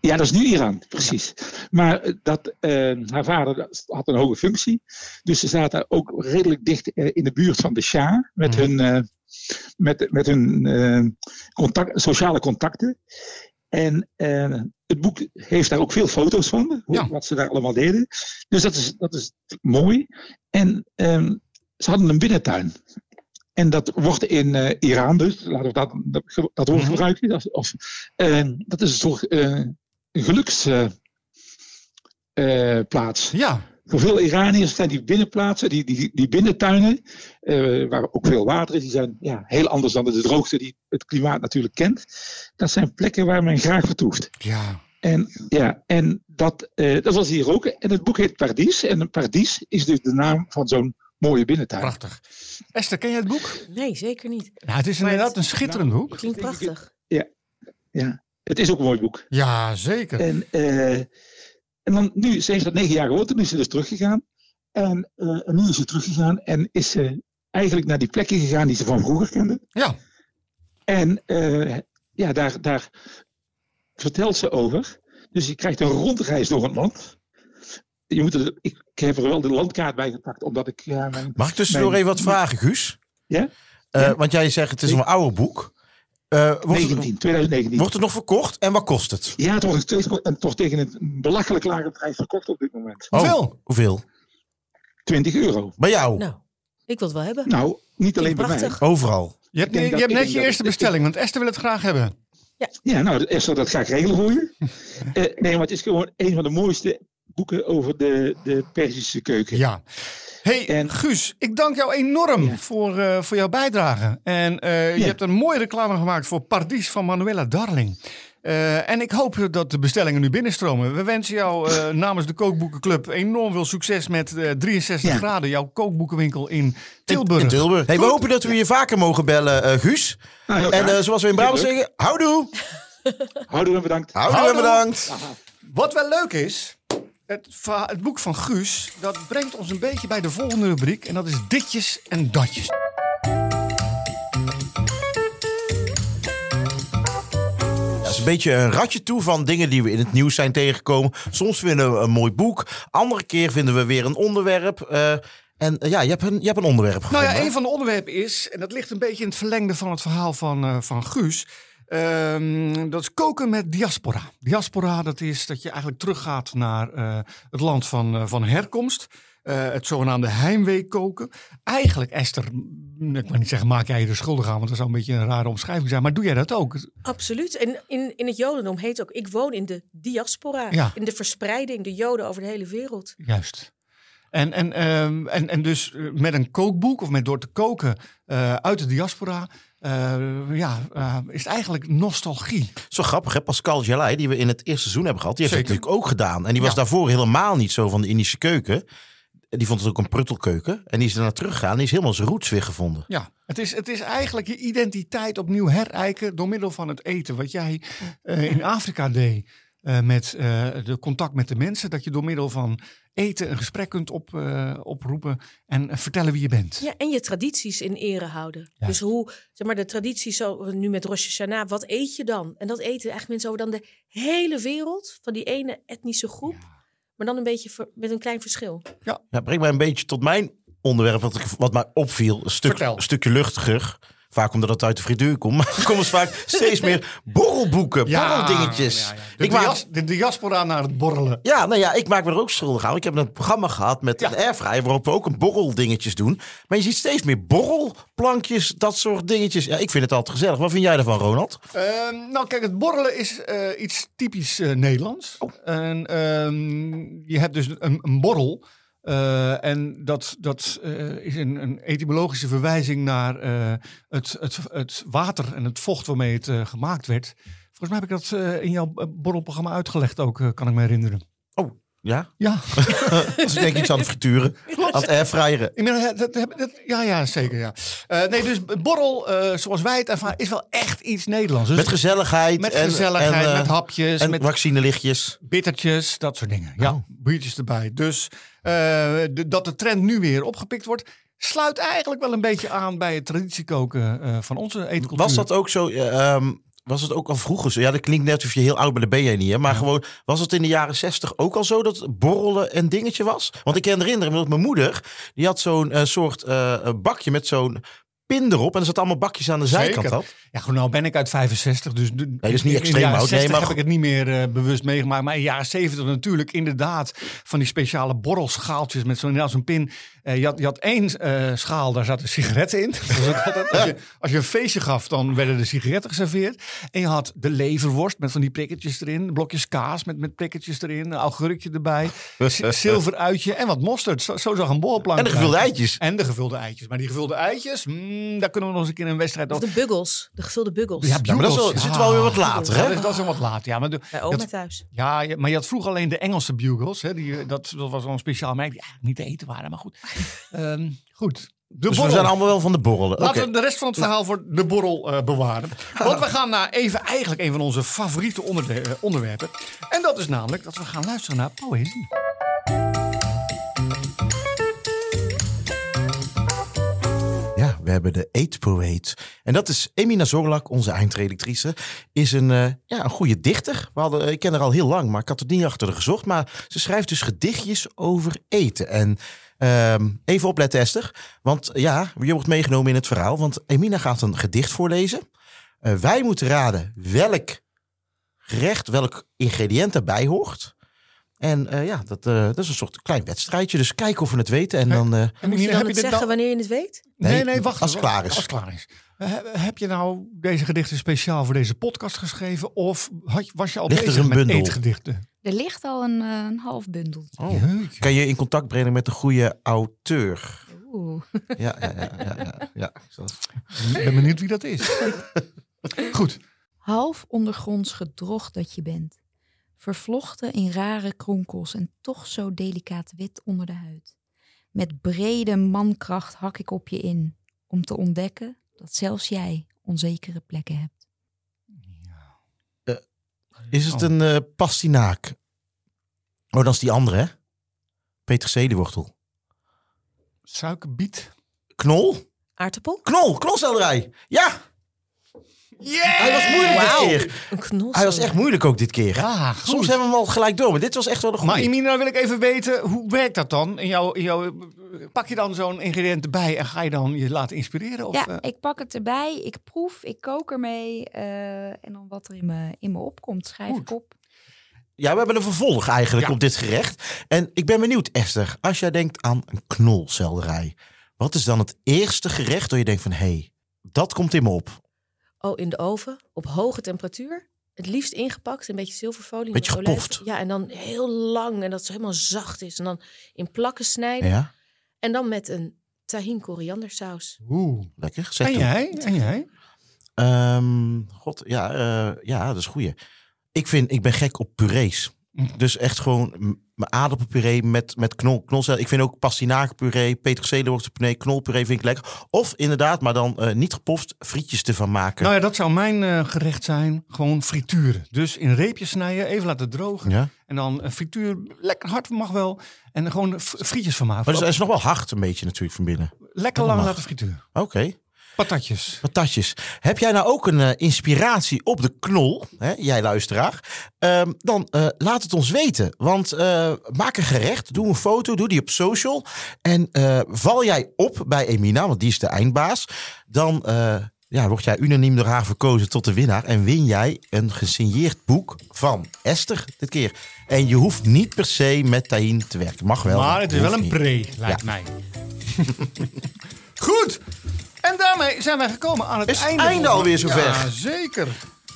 Speaker 5: ja, dat is nu Iran, precies. Maar eh, dat, eh, haar vader dat had een hoge functie. Dus ze zaten ook redelijk dicht eh, in de buurt van de Shah. Met
Speaker 1: Mhm.
Speaker 5: hun, eh, met, met hun eh, contact, sociale contacten. En eh, het boek heeft daar ook veel foto's van. hoe-
Speaker 1: Ja.
Speaker 5: Wat ze daar allemaal deden. Dus dat is, dat is mooi. En ehm, ze hadden een binnentuin. En dat wordt in eh, Iran dus, laten we dat, dat, dat woord
Speaker 1: Mhm.
Speaker 5: gebruiken. Dat, of, eh, dat is een soort eh, geluksplaats. eh, plaats.
Speaker 1: Ja,
Speaker 5: Voor veel Iraniërs zijn die binnenplaatsen, die, die, die binnentuinen, eh, waar ook veel water is, die zijn ja, heel anders dan de droogte die het klimaat natuurlijk kent. Dat zijn plekken waar men graag vertoeft.
Speaker 1: ja.
Speaker 5: En, ja, en dat, eh, dat was hier ook. En het boek heet Pardies. En Pardies is dus de naam van zo'n mooie binnentuin.
Speaker 1: prachtig. Esther, ken jij het boek?
Speaker 2: Nee, zeker niet.
Speaker 1: Nou, het is
Speaker 2: Maar
Speaker 1: inderdaad
Speaker 2: het-
Speaker 1: een schitterend boek.
Speaker 2: Klinkt prachtig.
Speaker 5: Het is ook een mooi boek.
Speaker 1: Ja, zeker.
Speaker 5: En, eh, en dan nu, ze heeft dat negen jaar gewoond en nu is ze dus teruggegaan. En, eh, en nu is ze teruggegaan en is ze eigenlijk naar die plekken gegaan die ze van vroeger kende.
Speaker 1: Ja.
Speaker 5: En eh, ja, daar, daar vertelt ze over. Dus je krijgt een rondreis door het land. Je moet er, ik, ik heb er wel de landkaart bij gepakt, omdat ik... Ja, mijn,
Speaker 3: Mag ik tussendoor
Speaker 5: Mijn-
Speaker 3: even wat vragen, Guus?
Speaker 5: Ja?
Speaker 3: Eh,
Speaker 5: Ja.
Speaker 3: Want jij zegt het is een ouder boek. Eh, wordt,
Speaker 5: 19, 2019.
Speaker 3: het, wordt het nog verkocht en wat kost het?
Speaker 5: Ja, het wordt steeds en toch tegen een belachelijk lage prijs verkocht op dit moment.
Speaker 3: Oh,
Speaker 1: Hoeveel?
Speaker 3: hoeveel?
Speaker 5: 20 euro.
Speaker 3: Bij jou?
Speaker 2: Nou, ik wil het wel hebben.
Speaker 5: Nou, niet alleen bij mij.
Speaker 2: prachtig.
Speaker 3: Overal?
Speaker 1: Je hebt,
Speaker 5: Ik denk
Speaker 1: je
Speaker 5: dat-
Speaker 1: hebt
Speaker 5: ik
Speaker 1: net
Speaker 5: denk
Speaker 1: je
Speaker 5: dat-
Speaker 1: eerste
Speaker 5: ik-
Speaker 1: bestelling, want Esther wil het graag hebben.
Speaker 5: Ja, nou, Esther, dat ga ik regelen voor je. Eh, nee, maar het is gewoon een van de mooiste boeken over de, de Perzische keuken.
Speaker 1: Ja. hey,
Speaker 5: En-
Speaker 1: Guus, ik dank jou enorm
Speaker 5: Ja.
Speaker 1: voor, eh, voor jouw bijdrage. En eh, je
Speaker 5: Ja.
Speaker 1: hebt een mooie reclame gemaakt voor Pardies van Manuela Darling. Eh, en ik hoop dat de bestellingen nu binnenstromen. We wensen jou eh, namens de Kookboekenclub enorm veel succes met eh, 63
Speaker 5: Ja.
Speaker 1: graden, jouw kookboekenwinkel in
Speaker 3: In-
Speaker 1: Tilburg.
Speaker 3: In Tilburg. Hey, we
Speaker 1: Goed.
Speaker 3: hopen dat we je vaker mogen bellen, eh, Guus.
Speaker 5: Nou, heel
Speaker 3: En
Speaker 5: graag.
Speaker 3: eh, zoals we in Brabant
Speaker 5: Leuk.
Speaker 3: zeggen, houdoe.
Speaker 5: Houdoe en bedankt.
Speaker 3: Houdoe en
Speaker 1: Houdoe.
Speaker 3: bedankt.
Speaker 1: Wat wel leuk is, het, verha- het boek van Guus, dat brengt ons een beetje bij de volgende rubriek. En dat is ditjes en datjes.
Speaker 3: Dat is een beetje een ratje toe van dingen die we in het nieuws zijn tegengekomen. Soms vinden we een mooi boek. Andere keer vinden we weer een onderwerp. eh, en eh, ja, je hebt een, je hebt een onderwerp
Speaker 1: Nou
Speaker 3: gevonden.
Speaker 1: ja, een van de onderwerpen is, en dat ligt een beetje in het verlengde van het verhaal van, eh, van Guus. ehm, dat is koken met diaspora. Diaspora, dat is dat je eigenlijk teruggaat naar eh, het land van, eh, van herkomst. Eh, het zogenaamde heimwee koken. Eigenlijk, Esther, m, ik wil niet zeggen, maak jij je er schuldig aan, want dat zou een beetje een rare omschrijving zijn. Maar doe jij dat ook?
Speaker 2: Absoluut. En in, in het Jodendom heet ook: ik woon in de diaspora.
Speaker 1: Ja.
Speaker 2: In de verspreiding, de Joden over de hele wereld.
Speaker 1: Juist. En, en, ehm, en, en dus eh, met een kookboek of met door te koken eh, uit de diaspora, eh, ja, eh, is het eigenlijk nostalgie.
Speaker 3: Zo grappig, hè? Pascal Jalai, die we in het eerste seizoen hebben gehad, die heeft
Speaker 1: Zeker.
Speaker 3: het natuurlijk ook gedaan. En die was
Speaker 1: Ja.
Speaker 3: daarvoor helemaal niet zo van de Indische keuken. Die vond het ook een pruttelkeuken. En die is daarna teruggegaan en die is helemaal zijn roots weer gevonden.
Speaker 1: Ja, het is, het is eigenlijk je identiteit opnieuw herijken door middel van het eten. Wat jij eh, in Afrika deed eh, met eh, de contact met de mensen. Dat je door middel van eten een gesprek kunt op, eh, oproepen en eh, vertellen wie je bent.
Speaker 2: Ja, en je tradities in ere houden.
Speaker 1: Ja.
Speaker 2: Dus hoe, zeg maar, de tradities, zo, nu met Rosh Hashanah, wat eet je dan? En dat eten eigenlijk mensen over dan de hele wereld van die ene etnische groep. Maar dan een beetje ver- met een klein verschil.
Speaker 3: Ja, breng mij een beetje tot mijn onderwerp, wat, ik- wat mij opviel. Een, stuk,
Speaker 1: Vertel.
Speaker 3: een stukje luchtiger. Vaak omdat het uit de frituur komt. Maar er komen vaak steeds meer borrelboeken, borreldingetjes.
Speaker 1: ja, ja. De,
Speaker 3: Ik maak-
Speaker 1: dias- de diaspora naar het borrelen.
Speaker 3: Ja, nou ja, ik maak me er ook schuldig aan. Ik heb een programma gehad met
Speaker 1: Ja.
Speaker 3: een airfryer waarop we ook een borreldingetjes doen. Maar je ziet steeds meer borrelplankjes, dat soort dingetjes. Ja, ik vind het altijd gezellig. Wat vind jij daarvan, Ronald?
Speaker 1: Ehm, nou, kijk, het borrelen is eh,
Speaker 3: Oh.
Speaker 1: iets typisch eh, Nederlands. En ehm, je hebt dus een, een borrel. Eh, en dat, dat eh, is een, een etymologische verwijzing naar eh, het, het, het water en het vocht waarmee het eh, gemaakt werd. Volgens mij heb ik dat eh, in jouw eh, borrelprogramma uitgelegd ook, eh, kan ik me herinneren.
Speaker 3: Ja?
Speaker 1: Ja,
Speaker 3: Dus ik denk iets aan het frituren. Aan het airfryeren.
Speaker 1: ik ben, eh, dat, dat, dat- ja, ja zeker. Ja. Eh, nee, dus borrel, eh, zoals wij het ervaren, is wel echt iets Nederlands. Dus
Speaker 3: Met gezelligheid.
Speaker 1: met
Speaker 3: en-
Speaker 1: gezelligheid,
Speaker 3: en, eh,
Speaker 1: met hapjes,
Speaker 3: en
Speaker 1: met
Speaker 3: vaccinelichtjes.
Speaker 1: bittertjes, dat soort dingen. Ja,
Speaker 3: Oh.
Speaker 1: biertjes erbij. Dus eh, de- dat de trend nu weer opgepikt wordt, sluit eigenlijk wel een beetje aan bij het traditiekoken eh, van onze eetcultuur.
Speaker 3: Was dat ook zo? eh, ehm, was het ook al vroeger zo? Ja, dat klinkt net alsof je heel oud bent, dat ben je niet. Hè? Maar gewoon, was het in de jaren zestig ook al zo dat borrelen een dingetje was? Want ik kan herinneren dat mijn moeder, die had zo'n eh, soort eh, bakje met zo'n pin erop. En er zaten allemaal bakjes aan de
Speaker 1: Zeker.
Speaker 3: zijkant. Had.
Speaker 1: Ja, goed, nou ben ik uit 65, dus... Nee,
Speaker 3: dat is niet extreem oud. Nee, maar
Speaker 1: heb ik het niet meer eh, bewust meegemaakt. Maar in de jaren 70 natuurlijk inderdaad van die speciale borrelschaaltjes met zo'n inderdaad zo'n pin. Eh, je, had, je had één eh, schaal, daar zaten sigaretten in. Dat was ook altijd, als, je, als je een feestje gaf, dan werden de sigaretten geserveerd. En je had de leverworst met van die prikketjes erin. Blokjes kaas met, met prikketjes erin. Een augurkje erbij. z- Zilver uitje en wat mosterd. Zo, zo zag een borrelplank
Speaker 3: En de gevulde
Speaker 1: eruit.
Speaker 3: eitjes.
Speaker 1: En de gevulde eitjes. Maar die gevulde eitjes, mm, daar kunnen we nog eens een keer een wedstrijd
Speaker 2: Of
Speaker 1: over.
Speaker 2: de buggles, de gevulde buggels.
Speaker 1: Ja,
Speaker 3: Ja, maar dat is wel,
Speaker 1: Bugles,
Speaker 3: zit
Speaker 1: ja.
Speaker 3: wel weer wat later,
Speaker 1: Ja,
Speaker 3: hè?
Speaker 1: dat is- dat is een wat laat. Ja, maar, de-
Speaker 2: Bij
Speaker 1: dat-
Speaker 2: oma thuis.
Speaker 1: ja, je- maar je had vroeger alleen de Engelse bugles. Hè? Die, eh, dat, dat was wel een speciaal merk die eigenlijk niet te eten waren. Maar goed. Ehm, goed. De
Speaker 3: Dus we
Speaker 1: borrel.
Speaker 3: zijn allemaal wel van de borrelen. Oké.
Speaker 1: Laten we de rest van het verhaal voor de borrel eh, bewaren. Want we gaan naar even eigenlijk een van onze favoriete onderde- eh, onderwerpen. En dat is namelijk dat we gaan luisteren naar poëzie.
Speaker 3: Ja, we hebben de eetpoëet. En dat is Emina Zorlak, onze eindredactrice. Is een, eh, ja, een goede dichter. We hadden, ik ken haar al heel lang, maar ik had het niet achter haar gezocht. Maar ze schrijft dus gedichtjes over eten. En ehm, even opletten, Esther. Want ja, je wordt meegenomen in het verhaal. Want Emina gaat een gedicht voorlezen. Eh, wij moeten raden welk gerecht, welk ingrediënt daarbij hoort. En eh, ja, dat, eh, dat is een soort klein wedstrijdje. Dus kijken of we het weten. En dan, eh,
Speaker 1: En
Speaker 2: Moet je dan het zeggen wanneer je het weet?
Speaker 1: nou- Nee, nee,
Speaker 3: Nee,
Speaker 1: wacht.
Speaker 3: als
Speaker 1: even,
Speaker 3: het klaar is.
Speaker 1: Als het klaar is. Eh, heb- heb je nou deze gedichten speciaal voor deze podcast geschreven? Of had, je- was je al
Speaker 3: Ligt er
Speaker 1: bezig
Speaker 3: een
Speaker 1: met
Speaker 3: bundel?
Speaker 1: eetgedichten?
Speaker 4: Er ligt al een, eh, een half bundeltje.
Speaker 3: Oh.
Speaker 1: Jeetje.
Speaker 3: kan je in contact brengen met een goede auteur.
Speaker 1: Oh.
Speaker 4: Oeh.
Speaker 3: Ja, ja, ja. ja, ja, ja. Ik zal-
Speaker 1: Ik ben benieuwd wie dat is. Goed.
Speaker 4: Half ondergronds gedrocht dat je bent. Vervlochten in rare kronkels en toch zo delicaat wit onder de huid. Met brede mankracht hak ik op je in, om te ontdekken dat zelfs jij onzekere plekken hebt.
Speaker 3: Is
Speaker 1: Oh,
Speaker 3: het een eh, pastinaak? Oh, dat is die andere, hè? Peterseliewortel.
Speaker 1: Suikerbiet.
Speaker 3: Knol?
Speaker 2: Aardappel?
Speaker 3: Knol, knolselderij. Ja! Hij was moeilijk
Speaker 2: Wauw.
Speaker 3: dit keer.
Speaker 2: Een knol.
Speaker 3: Hij was echt moeilijk ook dit keer.
Speaker 1: Ja, goed.
Speaker 3: Soms hebben we hem al gelijk door, maar dit was echt wel een goede.
Speaker 1: maar Imina, wil ik even weten, hoe werkt dat dan? In jouw, in jouw, pak je dan zo'n ingrediënt erbij en ga je dan je laten inspireren? Of,
Speaker 4: ja,
Speaker 1: eh,
Speaker 4: ik pak het erbij, ik proef, ik kook ermee eh, en dan wat er in me, in me opkomt schrijf
Speaker 1: Goed.
Speaker 4: ik op.
Speaker 3: Ja, we hebben een vervolg eigenlijk
Speaker 1: Ja.
Speaker 3: op dit gerecht. En ik ben benieuwd, Esther, als jij denkt aan een knolselderij, wat is dan het eerste gerecht dat je denkt van, hé, hey, dat komt in me op?
Speaker 2: Oh, in de oven, op hoge temperatuur. Het liefst ingepakt, een beetje zilverfolie.
Speaker 3: Beetje
Speaker 2: met olijf.
Speaker 3: gepoft.
Speaker 2: Ja, en dan heel lang en dat het helemaal zacht is. En dan in plakken snijden.
Speaker 3: Ja,
Speaker 2: En dan met een tahin koriandersaus.
Speaker 1: Oeh.
Speaker 3: lekker. Zeg
Speaker 1: En
Speaker 3: toe.
Speaker 1: jij? En jij?
Speaker 3: Ehm, God, ja, eh, ja, dat is goeie. Ik vind, ik ben gek op purees. Dus echt gewoon m- mijn aardappelpuree met, met knol, knolcel. Ik vind ook pastinakenpuree, peterselenwortelpuree, knolpuree vind ik lekker. Of inderdaad, maar dan eh, niet gepoft, frietjes ervan maken.
Speaker 1: Nou ja, dat zou mijn eh, gerecht zijn. Gewoon frituren. Dus in reepjes snijden, even laten drogen.
Speaker 3: ja.
Speaker 1: En dan een frituur, lekker hard mag wel. En er gewoon f- frietjes van maken.
Speaker 3: Maar het is, het is nog wel hard een beetje natuurlijk van binnen.
Speaker 1: lekker
Speaker 3: dat
Speaker 1: lang
Speaker 3: mag.
Speaker 1: laten frituren.
Speaker 3: Oké,
Speaker 1: Patatjes.
Speaker 3: patatjes. Heb jij nou ook een eh, inspiratie op de knol, hè, jij luisteraar? Ehm, dan eh, laat het ons weten. Want eh, maak een gerecht, doe een foto, doe die op social. En eh, val jij op bij Emina, want die is de eindbaas. Dan eh, ja, word jij unaniem door haar verkozen tot de winnaar. En win jij een gesigneerd boek van Esther dit keer. En je hoeft niet per se met Tahin te werken. Mag wel.
Speaker 1: maar het is wel
Speaker 3: hoeft
Speaker 1: een
Speaker 3: niet.
Speaker 1: pre, lijkt mij. Goed. En daarmee zijn wij gekomen aan het
Speaker 3: Is het
Speaker 1: einde.
Speaker 3: einde
Speaker 1: van-
Speaker 3: alweer zover?
Speaker 1: Ja, zeker.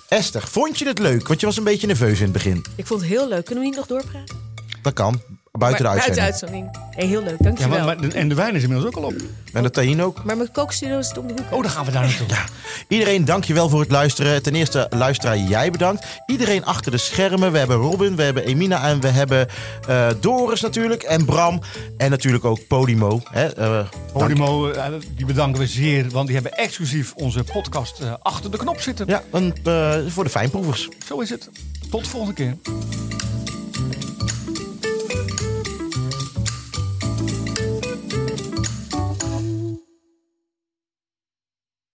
Speaker 3: Esther, vond je het leuk? Want je was een beetje nerveus in het begin.
Speaker 2: Ik vond het heel leuk. Kunnen we niet nog doorpraten?
Speaker 3: Dat kan. Buiten de
Speaker 2: Maar-
Speaker 3: uitzending.
Speaker 2: uitzending. Hey, heel leuk, dankjewel.
Speaker 1: Ja,
Speaker 2: maar,
Speaker 1: maar, maar de- en de wijn is inmiddels ook al op.
Speaker 3: En de tahin ook.
Speaker 2: mijn kookstudio is het om de hoek.
Speaker 1: Oh, dan gaan we daar naartoe.
Speaker 3: Ja. Iedereen, dankjewel voor het luisteren. Ten eerste, luisteraar, jij bedankt. Iedereen achter de schermen. We hebben Robin, we hebben Emina en we hebben eh, Doris natuurlijk. En Bram. En natuurlijk ook Podimo. Hè? eh, dank-
Speaker 1: Podimo, eh, die bedanken we zeer, want die hebben exclusief onze podcast eh, achter de knop zitten.
Speaker 3: Ja, een, eh, voor de fijnproevers.
Speaker 1: Zo is het. Tot de volgende keer.